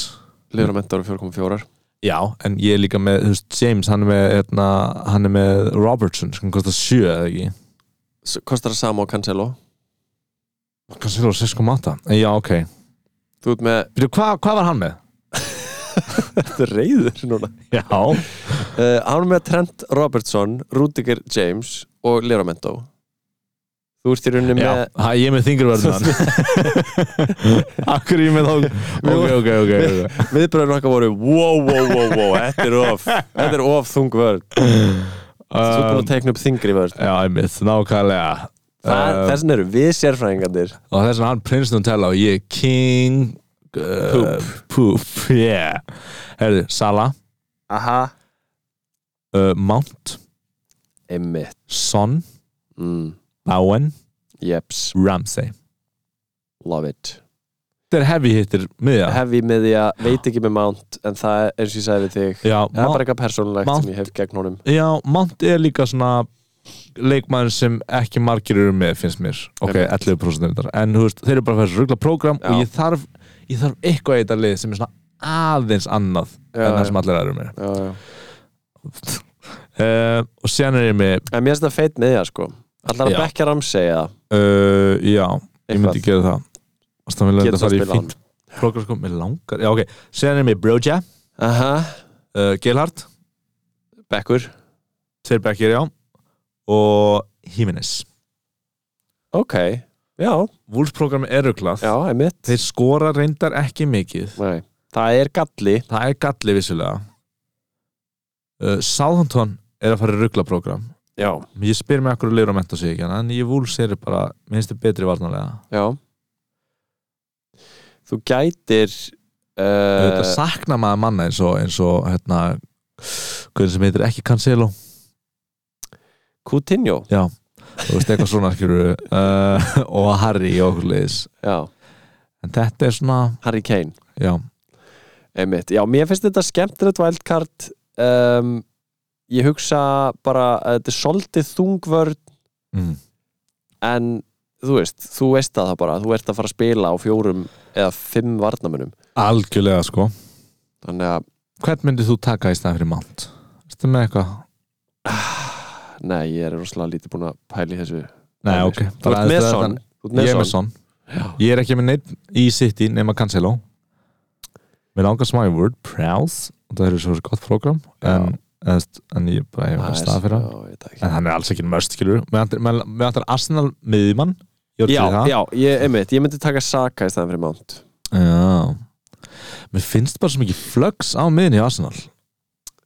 Speaker 4: Livramento eru 4,4
Speaker 3: Já, en ég er líka með, þú veist, James hann er með, hérna, hann er með Robertson sem kostar 7 eða ekki
Speaker 4: S- kostar það sama á Cancelo
Speaker 3: kannski er það 6.8 En Eh, Já, ok
Speaker 4: þú ert með *laughs*
Speaker 3: Byrju, hva, hvað var hann með?
Speaker 4: Þetta er reyður núna
Speaker 3: Já Já,
Speaker 4: uh, Hann er með Trent Robertson, Rudiger James og Livramento Þú ert í rauninu með
Speaker 3: hæ, ég er með þingurverðin *laughs* hann Akkur ég með þá *laughs* Ok, ok, ok, ok
Speaker 4: Viðbröðin okkar voru Wow, wow, wow, wow, þetta er
Speaker 3: *laughs*
Speaker 4: of Þetta er of þung vörn Þú ert búin að
Speaker 3: um,
Speaker 4: tekna upp þingri vörn
Speaker 3: Já, ég mitt, nákvæmlega
Speaker 4: Það,
Speaker 3: Um,
Speaker 4: þessin eru við sérfræðingandir
Speaker 3: Og þess að hann prins Nutella og ég King uh,
Speaker 4: Poop.
Speaker 3: Poop, yeah Herðu, Salah,
Speaker 4: Aha
Speaker 3: uh, Mount,
Speaker 4: Emmitt
Speaker 3: Son
Speaker 4: mm.
Speaker 3: Bowen,
Speaker 4: Jeps,
Speaker 3: Ramsey
Speaker 4: love it
Speaker 3: Þetta er heavy hittir miðja
Speaker 4: Heavy með því að veit ekki með Mount En það er eins og ég sagði við þig
Speaker 3: Já,
Speaker 4: Það er bara
Speaker 3: Mount,
Speaker 4: eitthvað persónulegt
Speaker 3: Mount-
Speaker 4: sem ég hef gegn honum
Speaker 3: já, Mount er líka svona leikmæður sem ekki margir eru með finnst mér, ok,
Speaker 4: Einmitt.
Speaker 3: 11% er þetta. en þú veist, þeir eru bara að færa ruggla program
Speaker 4: Já.
Speaker 3: og ég þarf, ég þarf eitthvað í þetta lið sem er svona aðeins annað
Speaker 4: Já,
Speaker 3: en
Speaker 4: já.
Speaker 3: það sem allir eru með
Speaker 4: já, já.
Speaker 3: uh, og sen er ég með
Speaker 4: En mér finnst þetta feit með það sko Allar að
Speaker 3: Já.
Speaker 4: bekka ramsi eða
Speaker 3: uh, já, ég myndi
Speaker 4: Eitthvað.
Speaker 3: gera það og það vil
Speaker 4: Getur
Speaker 3: þetta fara í
Speaker 4: að spila
Speaker 3: fínt program sko, mér langar, já ok sen er ég með Broja,
Speaker 4: Aha,
Speaker 3: uh, Gelhardt
Speaker 4: bekkur
Speaker 3: tveir bekkir, já og Jimenez
Speaker 4: Ok, já,
Speaker 3: Wolves-programmi er ruglað
Speaker 4: já, emitt
Speaker 3: þeir skora reyndar ekki mikið
Speaker 4: Nei. Það er galli
Speaker 3: það er galli vissulega uh, Southampton er að fara í ruglaprogram
Speaker 4: Já,
Speaker 3: ég spyr mig akkur að leira að menta sig ekki hérna, en ég vúls er bara, mér finnst þið betri varnarlega
Speaker 4: já Þú gætir
Speaker 3: þetta
Speaker 4: uh,
Speaker 3: sakna maður manna eins og, eins og hérna hvernig sem heitir ekki Cancelo
Speaker 4: Coutinho
Speaker 3: þú veist eitthvað svona skilur uh, og Harry og okkur liðis
Speaker 4: Já,
Speaker 3: en þetta er svona,
Speaker 4: Harry Kane
Speaker 3: já,
Speaker 4: Einmitt. Já, mér finnst þetta skemmtilegt wildcard um, Ég hugsa bara að þetta er svolítið þungvörn
Speaker 3: mm,
Speaker 4: en þú veist, þú veist að það bara þú ert að fara að spila á fjórum eða fimm varnamunum
Speaker 3: algjörlega sko
Speaker 4: þannig að,
Speaker 3: hvern myndir þú taka í stað fyrir mant? Ertu með eitthvað?
Speaker 4: ah, nei, ég er rosalega lítið búin að pæla í þessu
Speaker 3: Nei,
Speaker 4: Dæmi,
Speaker 3: ok
Speaker 4: sko. Þú ert með son Þú
Speaker 3: Ég er
Speaker 4: ert með
Speaker 3: með
Speaker 4: son
Speaker 3: son
Speaker 4: Já.
Speaker 3: Ég er ekki með neitt í City nema Cancelo Mér langar smá í Word Prowse og það er svo gott program en, en, en ég bara hef
Speaker 4: Það
Speaker 3: að
Speaker 4: er-
Speaker 3: stað fyrir hann
Speaker 4: já, ég veit það ekki.
Speaker 3: en hann er alls ekki mörst, skilur Mér ætlar Arsenal miðjumann Ég var til
Speaker 4: Já,
Speaker 3: í það.
Speaker 4: já, ég, einmitt, ég myndi taka Saka í staðan fyrir Mount
Speaker 3: já Mér finnst bara svo mikið flux á miðin í Arsenal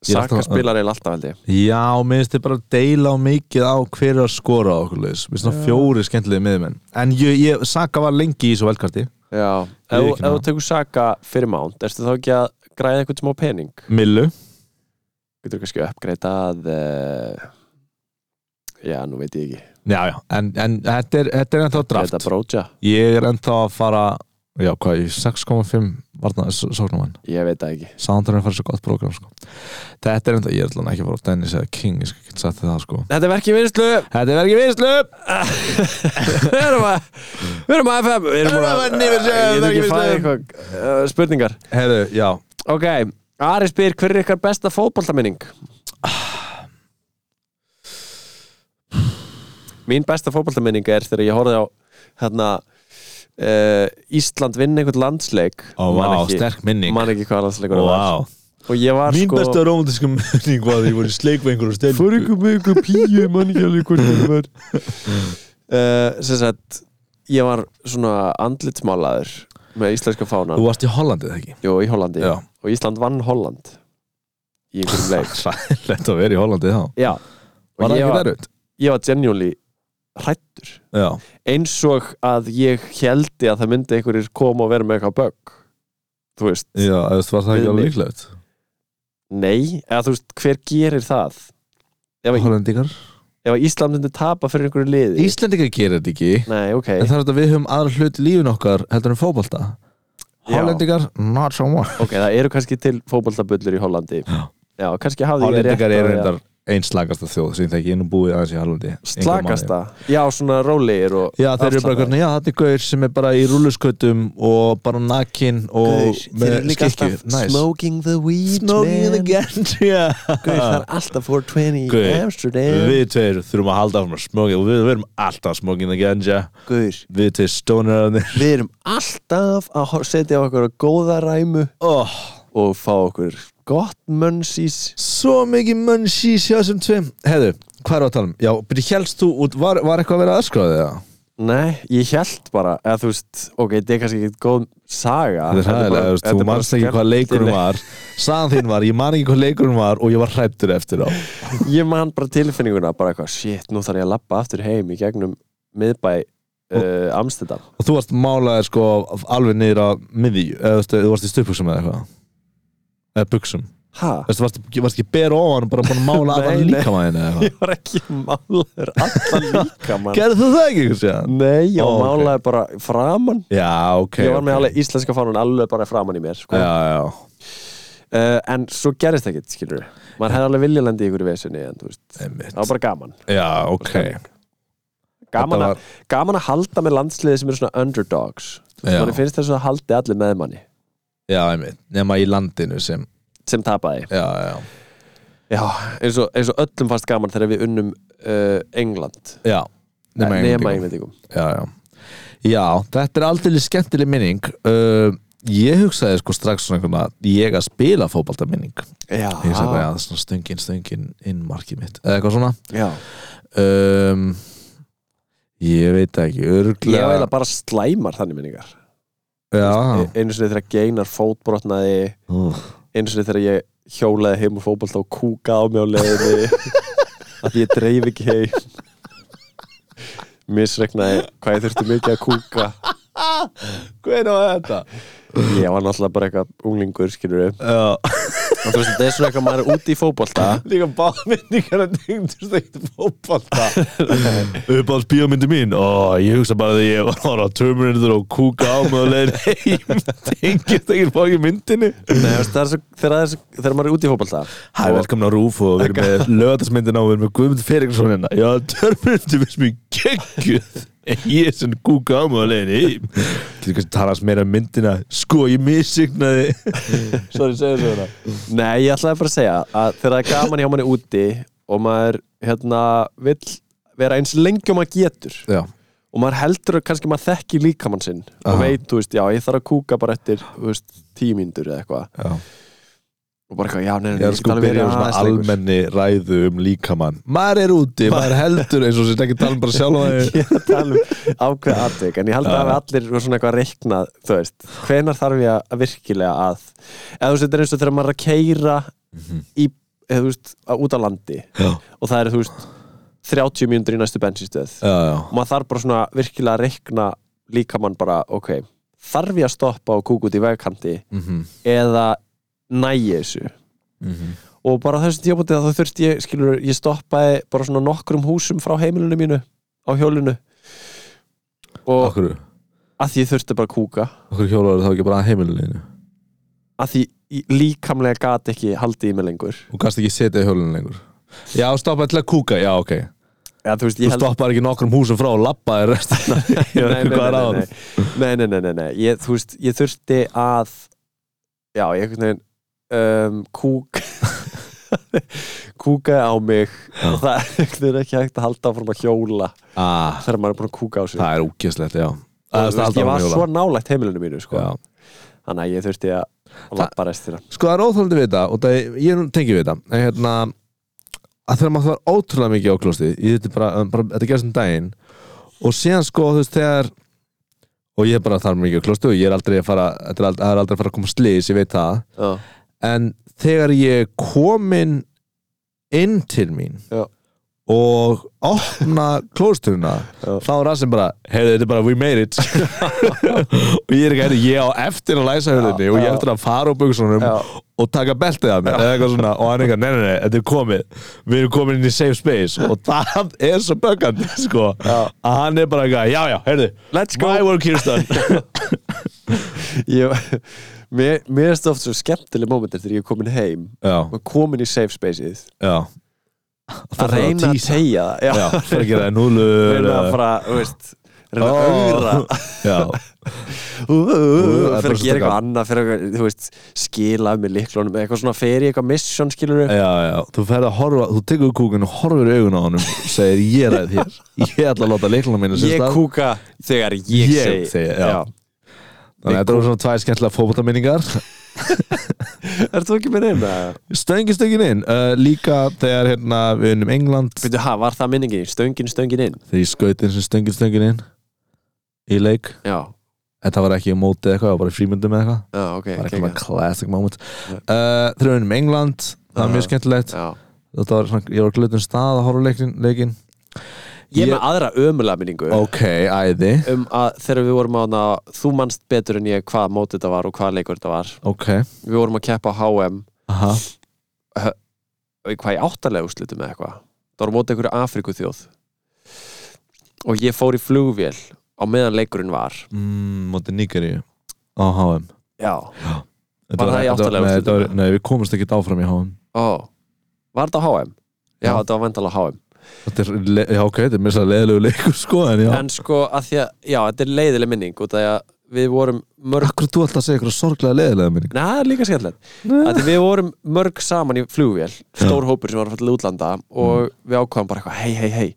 Speaker 3: Ég er
Speaker 4: Saka
Speaker 3: alltaf-
Speaker 4: spilar eiginlega alltaf held ég
Speaker 3: Já, mér finnst þið bara að deila á mikið á hver er að skora á okkur leis Mér finnst það fjóri skemmtilegi miðjumenn En ég, ég, Saka var lengi í svo velkarti
Speaker 4: Já,
Speaker 3: Ég
Speaker 4: ef þú-
Speaker 3: ekki
Speaker 4: ef þú
Speaker 3: ná.
Speaker 4: tekur Saka fyrir Mount erstu þá ekki að græða eitthvað smá pening
Speaker 3: Millu
Speaker 4: getur kannski uppgreitað uh, já, nú veit ég ekki
Speaker 3: Já, já, en, en þetta er, þetta er ennþá draft
Speaker 4: Þetta brótja
Speaker 3: Ég er ennþá að fara já, hvað, í 6,5 varna, sóknumann,
Speaker 4: Ég veit það ekki
Speaker 3: Soundtrain er farið svo gott program sko. þetta er enda, ég er allan ekki að fara á Dennis eða King, ég skal ekki sagt þér það sko
Speaker 4: Þetta er verkið vinslu *laughs*
Speaker 3: þetta er verið vinslu
Speaker 4: Við erum að Við erum að FM Við
Speaker 3: Við
Speaker 4: erum
Speaker 3: erum að venni, við séum, þetta
Speaker 4: Ég
Speaker 3: er
Speaker 4: get ekki
Speaker 3: ekki
Speaker 4: fæði
Speaker 3: veislu.
Speaker 4: eitthvað uh, Spurningar
Speaker 3: herru, já,
Speaker 4: Ok Ari spyr hver er ykkar besta fótboltaminning? Mín besta fótboltaminning er þegar ég horfði á hérna uh, Ísland vinn einhvern landsleik
Speaker 3: ó, vá, sterk minning
Speaker 4: Man ekki hvað landsleikur það var
Speaker 3: Wow.
Speaker 4: Og ég var
Speaker 3: Mín
Speaker 4: sko
Speaker 3: besta romantíska minning var því ég voru í sleik við einhverjum stelpu
Speaker 4: Fór ykkur með ykkur píu mann ekki alveg hvort það var uh, sem sagt ég var svona andlitsmálaður með íslenska fánan
Speaker 3: Þú varst í Hollandi eða ekki?
Speaker 4: Jú, í Hollandi
Speaker 3: Já.
Speaker 4: og Ísland vann Holland í
Speaker 3: *laughs*
Speaker 4: einhverjum leik
Speaker 3: Sælætt að vera í Hollandi þá
Speaker 4: Já,
Speaker 3: Var
Speaker 4: og
Speaker 3: það
Speaker 4: ég
Speaker 3: ekki
Speaker 4: var,
Speaker 3: verið?
Speaker 4: ég var genuinely hrættur
Speaker 3: Já
Speaker 4: eins og að ég heldi að það myndi einhverjir koma og vera með eitthvað bögg þú veist,
Speaker 3: Já, eða þú var það
Speaker 4: Við
Speaker 3: ekki alveg
Speaker 4: mig.
Speaker 3: líklegt
Speaker 4: nei eða þú veist, hver gerir það ef, að-
Speaker 3: Hollandingar
Speaker 4: ef að Ísland myndi tapa fyrir einhverju liði
Speaker 3: Íslandingar gerir þetta ekki
Speaker 4: Nei, ok
Speaker 3: En það er þetta við höfum aðra hlut í lífin okkar heldur en fótbolta
Speaker 4: Já.
Speaker 3: Hollendingar, not so much
Speaker 4: Ok, það eru kannski til fótboltabullur í Hollandi
Speaker 3: Já.
Speaker 4: Já, kannski hafði ég rétt
Speaker 3: Hollendingar
Speaker 4: á
Speaker 3: eru
Speaker 4: því að-
Speaker 3: reyndar einn slagasta þjóð sem það ekki inn og búið aðeins í Hollandi
Speaker 4: Slakasta Já, svona rólegir og
Speaker 3: Já, þeir eru bara
Speaker 4: afslappaðir.
Speaker 3: hvernig, já, þetta er gaur sem er bara í rúluskautum og bara nakin og með skikkju Nice.
Speaker 4: smoking the weed
Speaker 3: Smoking the *laughs* ganja
Speaker 4: Guð, það er alltaf 420
Speaker 3: Guð,
Speaker 4: í Amsterdam
Speaker 3: Við tveir þurfum að halda áfram að smoking og við verum alltaf smoking the ganja
Speaker 4: Guð,
Speaker 3: Við tveir stónararnir
Speaker 4: við erum alltaf að hor- setja á okkur góða ræmu
Speaker 3: oh,
Speaker 4: og fá okkur gott mönnsís
Speaker 3: Svo mikið munchies hjá þessum tveim Heiðu, hvað er að tala um? Já, byrju, helst þú út, var, var eitthvað að vera aðskráðið eða?
Speaker 4: Nei, ég held bara eða þú veist, ok, þetta er kannski ekki góð saga
Speaker 3: Þetta er hægilega, þú, veist, þú manst ekki hvað leikurinn var Sagan þín var, ég man ekki hvað leikurinn var og ég var hrættur eftir á
Speaker 4: ég man bara tilfinninguna bara eitthvað, shit, nú þarf ég að lappa aftur heim í gegnum miðbæ uh, Amsterdam
Speaker 3: Og þú varst málaðið sko alveg niður á miðju eða þú veist, þú varst í stupuksum eða eitthvað Eða buksum
Speaker 4: ha?
Speaker 3: *laughs* Þú veist, varst, varst ekki bera ofan og bara búin að mála
Speaker 4: *laughs* Nei,
Speaker 3: allan
Speaker 4: nei.
Speaker 3: líkamæðin hérna eða eitthvað
Speaker 4: ég var ekki málaður allan *laughs* líka mann
Speaker 3: Gerðu þú það ekki, Kristján?
Speaker 4: nei, ég
Speaker 3: Ó,
Speaker 4: var
Speaker 3: ok.
Speaker 4: málaður bara framan
Speaker 3: Já, ok
Speaker 4: ég var með
Speaker 3: ok.
Speaker 4: alveg íslenska fánun alveg bara framan í mér sko.
Speaker 3: Já,
Speaker 4: uh,
Speaker 3: já
Speaker 4: en svo gerist ekkert, skilur maður hefði alveg viljað lenda í ykkur í vesinni en þú veist,
Speaker 3: Einmitt.
Speaker 4: það var bara gaman
Speaker 3: Já, ok
Speaker 4: gaman,
Speaker 3: Þetta
Speaker 4: var... gaman að halda með landsliði sem eru svona underdogs
Speaker 3: Já.
Speaker 4: manni finnst þess að haldi allir með manni
Speaker 3: Já, einmitt, nema í landinu sem
Speaker 4: sem tapaði
Speaker 3: Já, já,
Speaker 4: Já, eins og, eins og öllum fast gaman þegar við unnum uh, England
Speaker 3: já
Speaker 4: nema,
Speaker 3: Englendingum.
Speaker 4: nema Englendingum
Speaker 3: já, já. já, þetta er aldrei skemmtileg minning uh, Ég hugsaði sko strax svona einhvern að ég að spila fótbalta minning
Speaker 4: Já,
Speaker 3: Ég hugsaði bara að svona stöngin, stöngin inn markið mitt eða eitthvað svona
Speaker 4: já.
Speaker 3: um, Ég veit það ekki,
Speaker 4: Ég var
Speaker 3: örglega
Speaker 4: eiginlega bara slæmar þannig minningar E,
Speaker 3: Já,
Speaker 4: Einu sinni þegar Geinar fótbrotnaði
Speaker 3: Úff.
Speaker 4: Einu sinni þegar ég hjólaði heim og fótbolt og kúka á mig á leiðinni *laughs* að ég dreif ekki heim Misregnaði hvað ég þurfti mikið að kúka
Speaker 3: hver var þetta?
Speaker 4: Ég var náttúrulega bara eitthvað unglingur skilur við
Speaker 3: Já,
Speaker 4: Og þú veist, þetta er svona eitthvað maður er úti í fótbolta
Speaker 3: líka báða minningar að tengdust ekkert *laughs* fótbalta Uppáðs bíómyndi mín Ó, ég hugsa bara þegar ég var á Terminator og kúka á mig og leiðin heim *laughs* tengist ekkert fókin myndinni
Speaker 4: Nei, þú veist, það er svo, þegar, það er svo, þegar maður er úti í fótbolta
Speaker 3: Hæ, velkomin á Rúf og við *laughs* erum með lögatarsmyndina og við erum með Guðmund Feriksson hérna Já, törmyndum við sem ég geggjuð En ég er svona kúka á mig á leiðinni heim Til kannski talast meira um myndina Sko, ég misignaði Sorry, segðu svo hérna
Speaker 4: Nei, ég ætlaði bara að segja að þegar það er gaman hjá manni úti og maður hérna vill vera eins lengi og maður getur
Speaker 3: Já,
Speaker 4: og maður heldur að kannski maður þekki líkamann sinn og
Speaker 3: Aha.
Speaker 4: veit, þú veist, já, ég þarf að kúka bara eftir, þú veist, tíu mínútur eða eitthvað
Speaker 3: já
Speaker 4: og bara eitthvað, já, neina,
Speaker 3: Ég er sko að byrja um svona almenni ræðu um líkamann Maður er úti, maður heldur eins og sér ekki tala um bara sjálf að
Speaker 4: *laughs* Ég er að tala um ákveð atvik en ég held að hafi allir voru svona eitthvað reiknað þú veist, hvenar þarf ég að- að virkilega að eða þú veist, þetta er eins og þegar maður er að keira
Speaker 3: Mhm.
Speaker 4: í, eða þú veist, á- út á landi
Speaker 3: *laughs* Já,
Speaker 4: og það er, þú veist, 30 mínútur í næstu bensinstöð
Speaker 3: já, já
Speaker 4: og maður þarf bara svona virkilega að reikna líkamann bara, ok, þarf ég að stoppa og kúka út í vegkanti
Speaker 3: Mhm,
Speaker 4: eða næja þessu
Speaker 3: mhm.
Speaker 4: og bara á þessum tíapóti þá þurfti ég, skilur, ég stoppaði bara svona nokkrum húsum frá heimilinu mínu á hjólinu og
Speaker 3: Af hverju?
Speaker 4: af að því ég þurfti bara að kúka
Speaker 3: Okkur hjólaður þá ekki bara að heimilinu
Speaker 4: að því ég líkamlega gat ekki haldið í mig lengur
Speaker 3: og kannski ekki setja í hjólinu lengur Já, stoppaði til að kúka, já, ok
Speaker 4: Já, þú veist,
Speaker 3: Þú
Speaker 4: ég held
Speaker 3: stoppaði ekki nokkrum húsum frá og labbaði restina Ég veit
Speaker 4: nei,
Speaker 3: ekki
Speaker 4: nei,
Speaker 3: hvað er á
Speaker 4: nei, nei, nei, nei, nei, nei, nei. Ég, þú veist, ég þurfti að já, ég einhvern veginn um, kúk *laughs* kúkaði á mig og það er einhvern veginn ekki hægt að halda áfram að hjóla
Speaker 3: ah,
Speaker 4: þegar maður er búin að kúka á sig
Speaker 3: Það er úkesslegt, já
Speaker 4: og,
Speaker 3: Það
Speaker 4: þú
Speaker 3: er
Speaker 4: veist,
Speaker 3: alltaf
Speaker 4: ég
Speaker 3: að
Speaker 4: var
Speaker 3: hjóla
Speaker 4: svo nálægt heimilinu mínu sko.
Speaker 3: Já.
Speaker 4: þannig að ég þurfti að lappa restina
Speaker 3: Sko það er óþólandi við þetta og það er, ég tengi við þetta en hérna að þegar maður þarf ótrúlega mikið á klostið ég þetta bara, bara, þetta gerst um daginn og síðan sko þú veist þegar og ég bara þarf mikið á klostið og ég er aldrei að fara þetta er aldrei, er aldrei að fara að koma slís, ég veit það
Speaker 4: já,
Speaker 3: en þegar ég er komin inn til mín
Speaker 4: Já.
Speaker 3: og opna klósturina
Speaker 4: Já.
Speaker 3: þá er rassinn bara, heyrðu þetta er bara we made it *laughs* og ég er ekki að ég á eftir að læsa hurðinni og ég á
Speaker 4: já.
Speaker 3: eftir að fara á buksunum
Speaker 4: Já.
Speaker 3: og taka beltið af mér eða eitthvað svona og hann eitthvað, nei nei nei, þetta er komið við erum komin inn í safe space og það er svo böggandi sko
Speaker 4: Já.
Speaker 3: að hann er bara eitthvað, já já, heyrðu
Speaker 4: Let's go.
Speaker 3: my work here's
Speaker 4: *laughs*
Speaker 3: done
Speaker 4: ég, mér, mér er stóft svo skemmtileg mómentir þegar ég er komin heim
Speaker 3: já,
Speaker 4: og komin í safe spaceið
Speaker 3: já
Speaker 4: að reyna að
Speaker 3: tísa.
Speaker 4: tegja það
Speaker 3: já,
Speaker 4: já.
Speaker 3: það er ekki að núlur
Speaker 4: reyna að fara, þú veist reyna að
Speaker 3: *laughs*
Speaker 4: augra
Speaker 3: Ó, já, það er
Speaker 4: fyrir
Speaker 3: bara
Speaker 4: að gera
Speaker 3: svo
Speaker 4: eitthvað annað fyrir að, þú veist, skila af mér liklunum eitthvað svona fer í eitthvað mission skilur
Speaker 3: já, já, þú ferð að horfa þú tekur kúkun og horfir í augun á honum og segir ég er að þér, ég ætla að láta leiklunum minna
Speaker 4: ég kúka þegar ég,
Speaker 3: Ég
Speaker 4: segi,
Speaker 3: segi, já. þannig að þetta eru svona tvær skemmtilega fótboltaminningar
Speaker 4: er þú ekki með neina?
Speaker 3: stöngin stöngin inn, uh, líka þegar hérna við unum England
Speaker 4: Byrju, ha, var það minningin? Stöngin, stöngin inn
Speaker 3: þegar ég skaut eins og stöngin stöngin inn í leik,
Speaker 4: já,
Speaker 3: þetta var ekki á móti eða eitthvað, það var bara í frímyndum eða eitthvað
Speaker 4: já ok,
Speaker 3: það var
Speaker 4: ok,
Speaker 3: ekki bara
Speaker 4: ok.
Speaker 3: classic moment uh, þegar við unum England, það var mjög skemmtilegt
Speaker 4: Já.
Speaker 3: þetta var svona, ég var glöðun stað að horfa á leikin, leikin.
Speaker 4: ég er
Speaker 3: Ég-
Speaker 4: með aðra ömulega minningu
Speaker 3: ok, æði,
Speaker 4: um að þegar við vorum á hana þú manst betur en ég hvað mót þetta var og hvað leikur þetta var
Speaker 3: ok
Speaker 4: við vorum að keppa á HM
Speaker 3: aha
Speaker 4: í hvað í áttalega úrslitum eða eitthvað það voru mótið einhverju Afriku þjóð og ég fór í flugvél á meðan leikurinn var
Speaker 3: mm, móti Nigeríu á HM
Speaker 4: já
Speaker 3: Þetta
Speaker 4: það í
Speaker 3: þetta
Speaker 4: áttalega
Speaker 3: nei,
Speaker 4: úrslitum?
Speaker 3: þetta var- Nei, við komumst ekki áfram í HM
Speaker 4: Ó. var þetta á HM? já,
Speaker 3: Já.
Speaker 4: þetta var vandalega HM
Speaker 3: Þetta er, le- já ok, þetta er mér svo leðilegu leikur *laughs* sko en já
Speaker 4: en sko að því að, já, þetta er leiðileg minning út af því að við vorum mörg
Speaker 3: Akkur þú alltaf að segja eitthvað sorglega leðilega minning
Speaker 4: Nei, það er líka skemmtilegt Að því Við vorum mörg saman í flugvél Stór hópur sem var að falla til útlanda Og við ákvaðum bara eitthvað, hei, hei, hei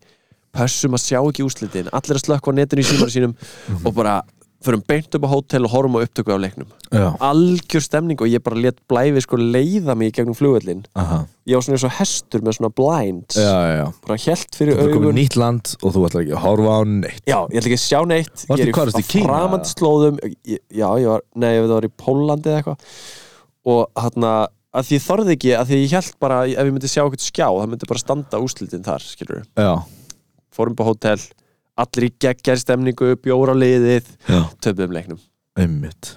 Speaker 4: Pössum að sjá ekki úslitin Allir að slökka á netinu í símanu sínum Og bara förum beint upp á hótel og horfum á upptöku af leiknum
Speaker 3: Já,
Speaker 4: Algjör stemning og ég bara let blæfi sko leiða mig í gegnum flugvellin
Speaker 3: aha
Speaker 4: Ég var svona eins og hestur með svona blinds
Speaker 3: Já, já, já
Speaker 4: Bara helt fyrir
Speaker 3: Þú er komið
Speaker 4: augun
Speaker 3: nýtt land og þú ætlar ekki að horfa á neitt
Speaker 4: Já, ég ætla ekki að sjá neitt
Speaker 3: Varstu-
Speaker 4: Ég er
Speaker 3: hvar varstu, í
Speaker 4: á
Speaker 3: Kína,
Speaker 4: framandi
Speaker 3: eða?
Speaker 4: slóðum Ég- Já, ég var, nei, ég veit það var í Pólandi eða eitthvað Og hann að því ég þorði ekki að því ég held bara að ef ég myndi sjá eitthvað skjá það myndi bara standa úslitin þar, skilur
Speaker 3: Já,
Speaker 4: Fórum på hótel, allir í geggjær stemningu bjóra á liðið,
Speaker 3: já,
Speaker 4: töfum leiknum
Speaker 3: einmitt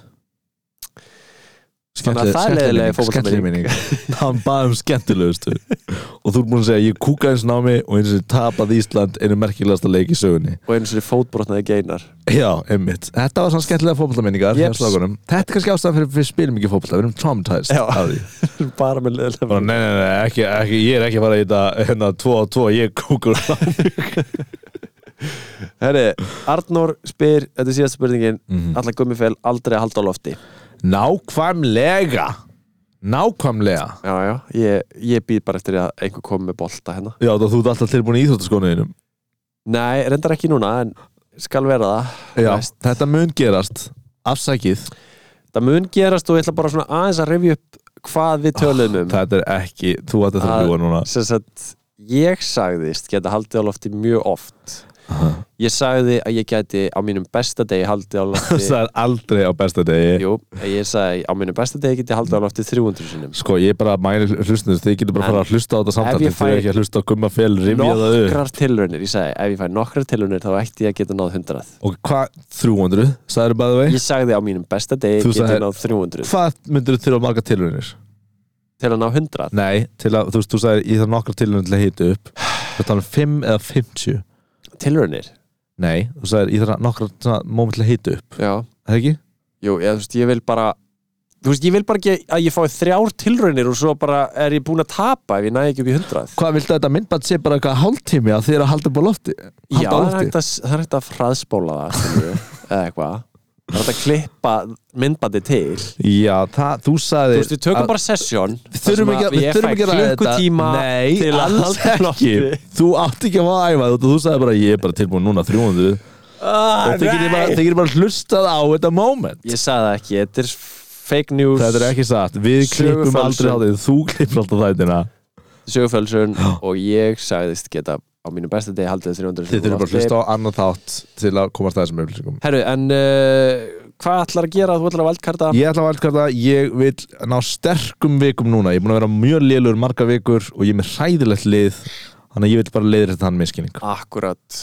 Speaker 4: Þannig að það er
Speaker 3: Skemmtileg-
Speaker 4: leiðileg
Speaker 3: skemmtileg minning skemmtileg minning. Hann bað um skemmtilegustu Og þú er búin að segja, ég kúka eins námi og eins og tapað Ísland einu merkilegasta leik í sögunni
Speaker 4: og einu sinni fótbrotnaði geinar
Speaker 3: Já, einmitt. Þetta var svona skemmtilega fótballtaminningar
Speaker 4: Jeps.
Speaker 3: yep. Þetta er kannski ástæðan fyrir að við spilum ekki fótballta Við erum traumatized
Speaker 4: Já.
Speaker 3: af því
Speaker 4: bara með leðilega
Speaker 3: Bara, Nei, nei, nei, ekki, ekki, ég er ekki að fara í þetta hérna, tvo og tvo, ég kúkur
Speaker 4: Herri, Arnór spyr, þetta er síðast spurningin
Speaker 3: Mhm.
Speaker 4: allar gummifel aldrei að halda á lofti
Speaker 3: Nákvæmlega Nákvæmlega
Speaker 4: Já, já, ég, ég býð bara eftir að einhver komi með bolta hérna
Speaker 3: Já, þá þú ert alltaf tilbúin í íþjóttaskonuðinum
Speaker 4: Nei, reyndar ekki núna en skal vera það
Speaker 3: Já,
Speaker 4: Næst.
Speaker 3: þetta mun gerast Afsækið,
Speaker 4: Það mun gerast og ég ætla bara svona aðeins að rifja upp hvað við töluðum um
Speaker 3: þetta er ekki Þú ætti að
Speaker 4: Að-
Speaker 3: það ljúa núna
Speaker 4: Sem sagt, ég sagðist geta haldið á lofti mjög oft Ég sagði að ég geti á mínum besta degi haldið á *laughs* lofti
Speaker 3: Það er aldrei á besta degi
Speaker 4: Jú, ég sagði á mínum besta degi geti haldið á lofti 300 sinnum
Speaker 3: Sko, ég bara mæli hlustinu Þið getur bara að fara að hlusta á þetta samtal
Speaker 4: ég
Speaker 3: Þið þurfa
Speaker 4: fæ-
Speaker 3: ekki að hlusta á gumma fel, rifja það upp
Speaker 4: Nokkrar tilraunir, ég sagði ef ég fæ nokkrar tilraunir þá ætti ég að geta náð 100
Speaker 3: Og hvað, 300, sagðið bæði vei?
Speaker 4: Ég sagði á mínum besta degi
Speaker 3: Þú
Speaker 4: geti
Speaker 3: sagðir-
Speaker 4: náð 300
Speaker 3: Hvað myndur þú þurfa marga tilraunir?
Speaker 4: til að ná 100
Speaker 3: Nei, til að, þú veist, þú *sighs* um sagðir, ég þarf nokkra tilraunir til að hita upp Þú veist, hann 5 eða 50
Speaker 4: Tilraunir?
Speaker 3: Nei, þú sagðir, ég þarf nokkra svona moment til að hita upp,
Speaker 4: já
Speaker 3: er það ekki?
Speaker 4: Jú, ég, þú veist, ég vil bara Þú veist, ég vil bara ekki að ég fái þrjár tilraunir og svo bara er ég búin að tapa ef ég næði ekki upp í hundrað
Speaker 3: Hvað viltu að þetta myndband sé bara eitthvað hálftími að þið eru að halda upp á lofti?
Speaker 4: Já,
Speaker 3: Halda á
Speaker 4: það er
Speaker 3: lofti?
Speaker 4: hægt að, það er hægt að fraðspóla það
Speaker 3: *laughs*
Speaker 4: skilurðu, eða eitthvað Það er hægt að klippa myndbandi til
Speaker 3: Já, það, þú sagðir
Speaker 4: Þú veist, við tökum bara sesjón
Speaker 3: Við þurfum ekki, að- við þurfum ekki að ræða þetta
Speaker 4: klukkutíma
Speaker 3: Nei,
Speaker 4: til að *laughs*
Speaker 3: alls
Speaker 4: halda
Speaker 3: ekki
Speaker 4: lofti.
Speaker 3: Þú átt ekki að fá að æfa þetta Þú sagði bara, ég er bara tilbúin núna 300
Speaker 4: ah,
Speaker 3: Og þeir getur bara, þeir geti bara hlustað á þetta moment
Speaker 4: Ég sagði það ekki, þetta er fake news
Speaker 3: Þetta er ekki satt Við
Speaker 4: Sögufölsun.
Speaker 3: klippum aldrei á þetta Þú klippur alltaf þættina *gasps*
Speaker 4: sögufölsun og ég sagðist geta á mínu besta degi haldið 300
Speaker 3: Þið þurfum bara að hlusta á annan þátt Til að komast að þessum upplýsingum
Speaker 4: Herru, en uh, hvað ætlar að gera? Þú ætlar að valdkarta
Speaker 3: Ég ætla að valkarta, ég vil ná sterkum vikum núna Ég er búin að vera mjög lélur marga vikur Og ég er með hræðilegt lið Þannig að ég vil bara leiðir þetta hann miskinning
Speaker 4: Akkurat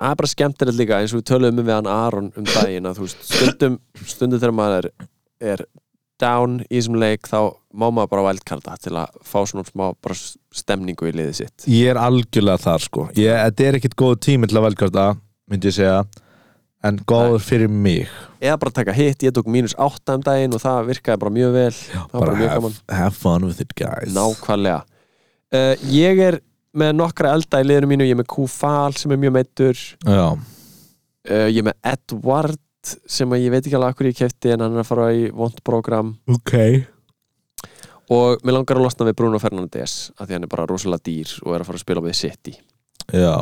Speaker 4: Það er bara skemmtilegt líka eins og við töluðum um við hann Aron um daginn að þú veist, stundum, stundum þegar maður er, er down í þessum leik þá má maður bara valdkarta til að fá svona smá bara stemningu í liðið sitt
Speaker 3: Ég er algjörlega þar sko ég, Þetta er ekkit góð tími til að valkarta Myndi ég segja En góður fyrir mig
Speaker 4: eða bara taka hitt, ég tók mínus 8 um daginn og það virkaði bara mjög vel það var bara mjög
Speaker 3: have,
Speaker 4: gaman
Speaker 3: have fun with it guys
Speaker 4: Nákvæmlega uh, Ég er með nokkra elda í liðinu mínu Ég er með Kúfal sem er mjög meittur
Speaker 3: Já,
Speaker 4: uh, Ég er með Edward sem að ég veit ekki alveg hvað ég kefti en hann er að fara í vond program
Speaker 3: ok
Speaker 4: og mér langar að losna við Bruno Fernandes af því hann er bara rosalega dýr og er að fara að spila með City
Speaker 3: Já,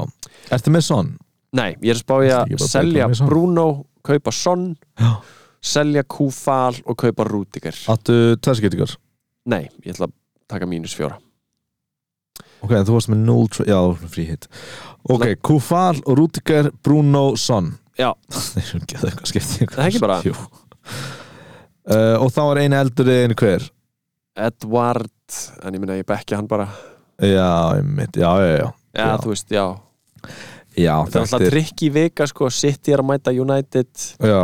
Speaker 3: ertu með son?
Speaker 4: Nei, ég er að spá ég
Speaker 3: Ég
Speaker 4: að
Speaker 3: er bara að
Speaker 4: selja
Speaker 3: bæta við Son.
Speaker 4: Bruno kaupa Son
Speaker 3: Já.
Speaker 4: selja Kúfal og kaupa Rúdiger
Speaker 3: Áttu tverskiptingar?
Speaker 4: Nei, ég ætla að taka mínus fjóra
Speaker 3: Ok, þú varst með 0 tr- Já, þú varst með frí hit Ok, Kufal, Rúdiger, Bruno, Son *laughs*
Speaker 4: Já.
Speaker 3: Nei, sem getur eitthvað skipti
Speaker 4: Það er ekki bara.
Speaker 3: Jú uh, Og þá er einu eldur en hver
Speaker 4: Edward, en ég minna ég bekki hann bara
Speaker 3: Já, einmitt, já, já, já
Speaker 4: Já,
Speaker 3: Já.
Speaker 4: þú veist, já
Speaker 3: Já,
Speaker 4: Þetta er alltaf trikk í vika sko, City er að mæta United
Speaker 3: Já,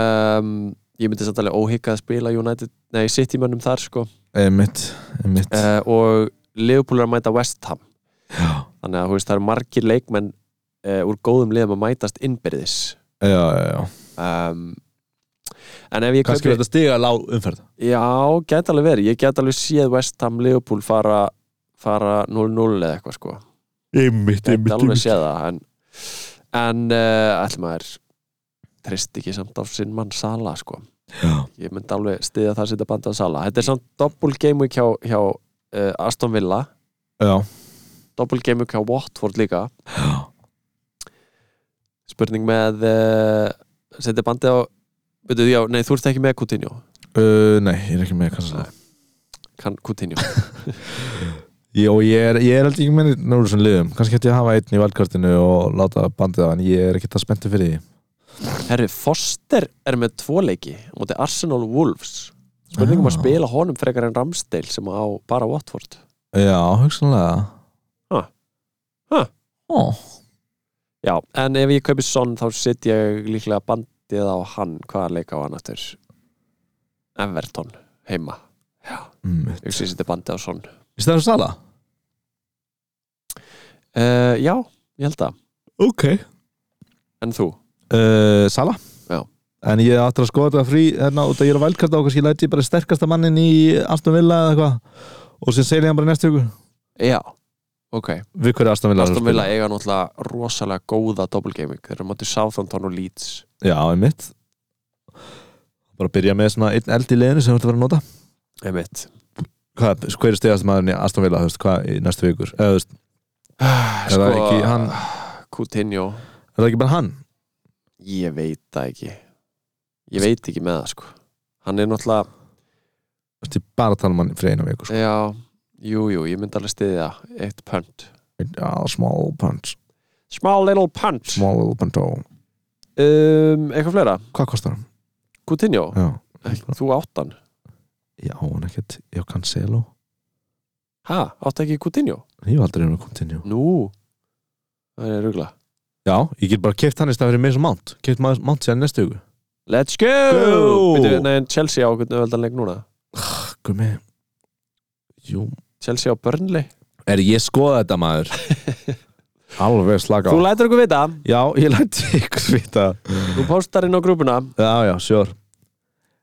Speaker 4: um, Ég myndi samt alveg óhygg að spila United Nei, City mönnum þar sko
Speaker 3: einmitt, einmitt
Speaker 4: uh, Og Liverpool er að mæta West Ham
Speaker 3: Já,
Speaker 4: Þannig að þú veist, það eru margir leikmenn uh, úr góðum liðum að mætast innbyrðis
Speaker 3: já, já, já
Speaker 4: um, En ef ég
Speaker 3: Kanski verður þetta stiga lág umferð
Speaker 4: Já, gæti alveg verið Ég gæti alveg séð West Ham Liverpool fara fara 0-0 eða eitthvað sko
Speaker 3: Einmitt,
Speaker 4: Gæti alveg séð það en, en uh, ætlum maður trist ekki samt á sinn mann Sala sko
Speaker 3: Já,
Speaker 4: ég myndi alveg stiðja það að setja banda á Sala þetta er samt doppul game week hjá, hjá uh, Aston Villa,
Speaker 3: já,
Speaker 4: doppul game week hjá Watford líka
Speaker 3: já
Speaker 4: spurning með uh, setja bandi á veitu, já, nei, þú ert ekki með Coutinho
Speaker 3: Uh, nei, ég er ekki með kannski
Speaker 4: Nei. kann Coutinho
Speaker 3: Jó, ég er, ég er aldrei ekki með náður sem liðum Kannski hætti ég að hafa einn í valkartinu og láta bandið á En ég er ekki það spenntu fyrir því
Speaker 4: herri, Foster er með tvo leiki á móti Arsenal Wolves spurning um að
Speaker 3: Já.
Speaker 4: spila honum frekar en Ramsdale sem á bara Watford
Speaker 3: Já, hugsanlega
Speaker 4: Ha. Ha.
Speaker 3: Ó,
Speaker 4: já, en ef ég kaupi Son þá setja ég líklega bandið á hann hvaða leika á hann aftur Everton, heima
Speaker 3: mm.
Speaker 4: ég sé setja bandið á Son
Speaker 3: Í stæðan sala?
Speaker 4: Uh, já, ég held það.
Speaker 3: Ok
Speaker 4: En þú?
Speaker 3: uh, Sala?
Speaker 4: Já.
Speaker 3: En ég áttur að skoða þetta frí hérna út að ég er á valkarta og kannski læti ég bara sterkasta mannin í Aston Villa eða eitthvað Og sem segir ég hann bara í næstu viku
Speaker 4: Já. Ok.
Speaker 3: Við hverju Aston Villa er að
Speaker 4: Aston Villa
Speaker 3: spila?
Speaker 4: eiga náttúrulega rosalega góða doppelgaming. Þeir eru á móti Southampton og Leeds.
Speaker 3: Já, einmitt Bara byrja með svona einn eld í liðinu sem þú ert að vera að nota
Speaker 4: Emitt.
Speaker 3: hvað, hver er stegast maðurinn í Aston Villa þú veist, hvað, í næstu vikur eða, þú veist, er,
Speaker 4: Sko,
Speaker 3: það ekki, hann,
Speaker 4: Coutinho,
Speaker 3: er það ekki bara hann
Speaker 4: ég veit það ekki. Ég veit ekki með það, sko. Hann er náttúrulega,
Speaker 3: Þú veist, ég bara að tala um hann fyrir eina vikur sko.
Speaker 4: já, jú, jú, ég myndi alveg stiðja eitt punt.
Speaker 3: já, small punch,
Speaker 4: Small little punt.
Speaker 3: small little punch oh.
Speaker 4: Um, eitthvað fleira?
Speaker 3: hvað kostar hann?
Speaker 4: Coutinho,
Speaker 3: já,
Speaker 4: Ekki, þú áttan.
Speaker 3: já hann ekkert, já, Cancelo
Speaker 4: Ha, átt ekki Coutinho?
Speaker 3: ég var aldrei um að continue
Speaker 4: Nú, það er rugla.
Speaker 3: já, ég get bara keft hann í stað fyrir Mason Mount keft maður Mount síðan næstu viku
Speaker 4: Let's go!
Speaker 3: Go!
Speaker 4: Byrju, nei, en Chelsea á hvernig veldan leik núna
Speaker 3: takk með jú,
Speaker 4: Chelsea á Burnley
Speaker 3: *laughs* er ég skoða þetta maður Alveg slaka á
Speaker 4: Þú lætur okkur vita,
Speaker 3: Já, ég læt ykkur vita
Speaker 4: þú postar inn á grúpuna
Speaker 3: Já, já, sure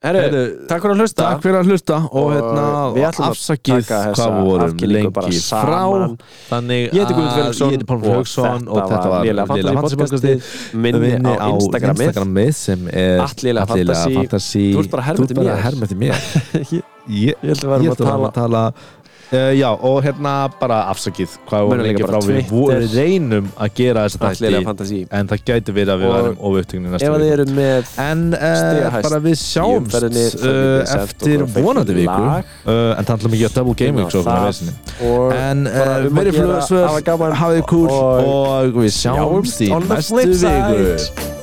Speaker 4: Herru,
Speaker 3: Heyrðu,
Speaker 4: takk fyrir að hlusta
Speaker 3: Takk fyrir að hlusta og
Speaker 4: Og við
Speaker 3: hérna
Speaker 4: ætlum að
Speaker 3: afsakið
Speaker 4: taka þessa
Speaker 3: hvað við vorum
Speaker 4: afkynningu bara
Speaker 3: lengi frá
Speaker 4: saman. Ah,
Speaker 3: Þannig
Speaker 4: Ég heiti Guðmund
Speaker 3: að-
Speaker 4: Felixson
Speaker 3: Ég heiti Pálmi Felixson og þetta var
Speaker 4: Lélega
Speaker 3: Lélega
Speaker 4: Fantasy
Speaker 3: Fantasy
Speaker 4: podcastið minni
Speaker 3: Vinni
Speaker 4: á Instagramið
Speaker 3: Instagramið sem er
Speaker 4: At Lélega
Speaker 3: At Lélega
Speaker 4: Fantasy.
Speaker 3: Fantasy
Speaker 4: Þú ert bara að herma
Speaker 3: Þú ert
Speaker 4: eftir
Speaker 3: bara
Speaker 4: mér.
Speaker 3: að herma
Speaker 4: *laughs*
Speaker 3: eftir mér
Speaker 4: Ég
Speaker 3: Ég
Speaker 4: ég held að við varum
Speaker 3: Ég
Speaker 4: að
Speaker 3: ætla að
Speaker 4: tala
Speaker 3: tala uh, Já, og hérna bara afsakið hvað
Speaker 4: Munum
Speaker 3: voru lengi
Speaker 4: líka
Speaker 3: frá
Speaker 4: bara
Speaker 3: við
Speaker 4: Twitter.
Speaker 3: voru reynum að gera þessa
Speaker 4: Allilega
Speaker 3: þætti
Speaker 4: fantasi
Speaker 3: en það gæti verið að við
Speaker 4: Og
Speaker 3: varum ofupptögnir
Speaker 4: Ef
Speaker 3: næsta
Speaker 4: að þið
Speaker 3: viku
Speaker 4: eru með
Speaker 3: En uh,
Speaker 4: Stigahæst
Speaker 3: bara við
Speaker 4: í
Speaker 3: sjáumst
Speaker 4: umferðinni, þá
Speaker 3: uh,
Speaker 4: getið þið sent
Speaker 3: eftir
Speaker 4: okkur á Facebook
Speaker 3: vonandi viku uh,
Speaker 4: lag.
Speaker 3: en það ætlum ekki að double game
Speaker 4: Inn á
Speaker 3: week svo fyrir
Speaker 4: það.
Speaker 3: vesinni
Speaker 4: og
Speaker 3: En uh,
Speaker 4: bara um að
Speaker 3: verið
Speaker 4: gera,
Speaker 3: flugvöðsvöð,
Speaker 4: hafa gaman
Speaker 3: hafið kúl
Speaker 4: og-
Speaker 3: og við sjáumst í
Speaker 4: on the
Speaker 3: næstu
Speaker 4: flip side.
Speaker 3: viku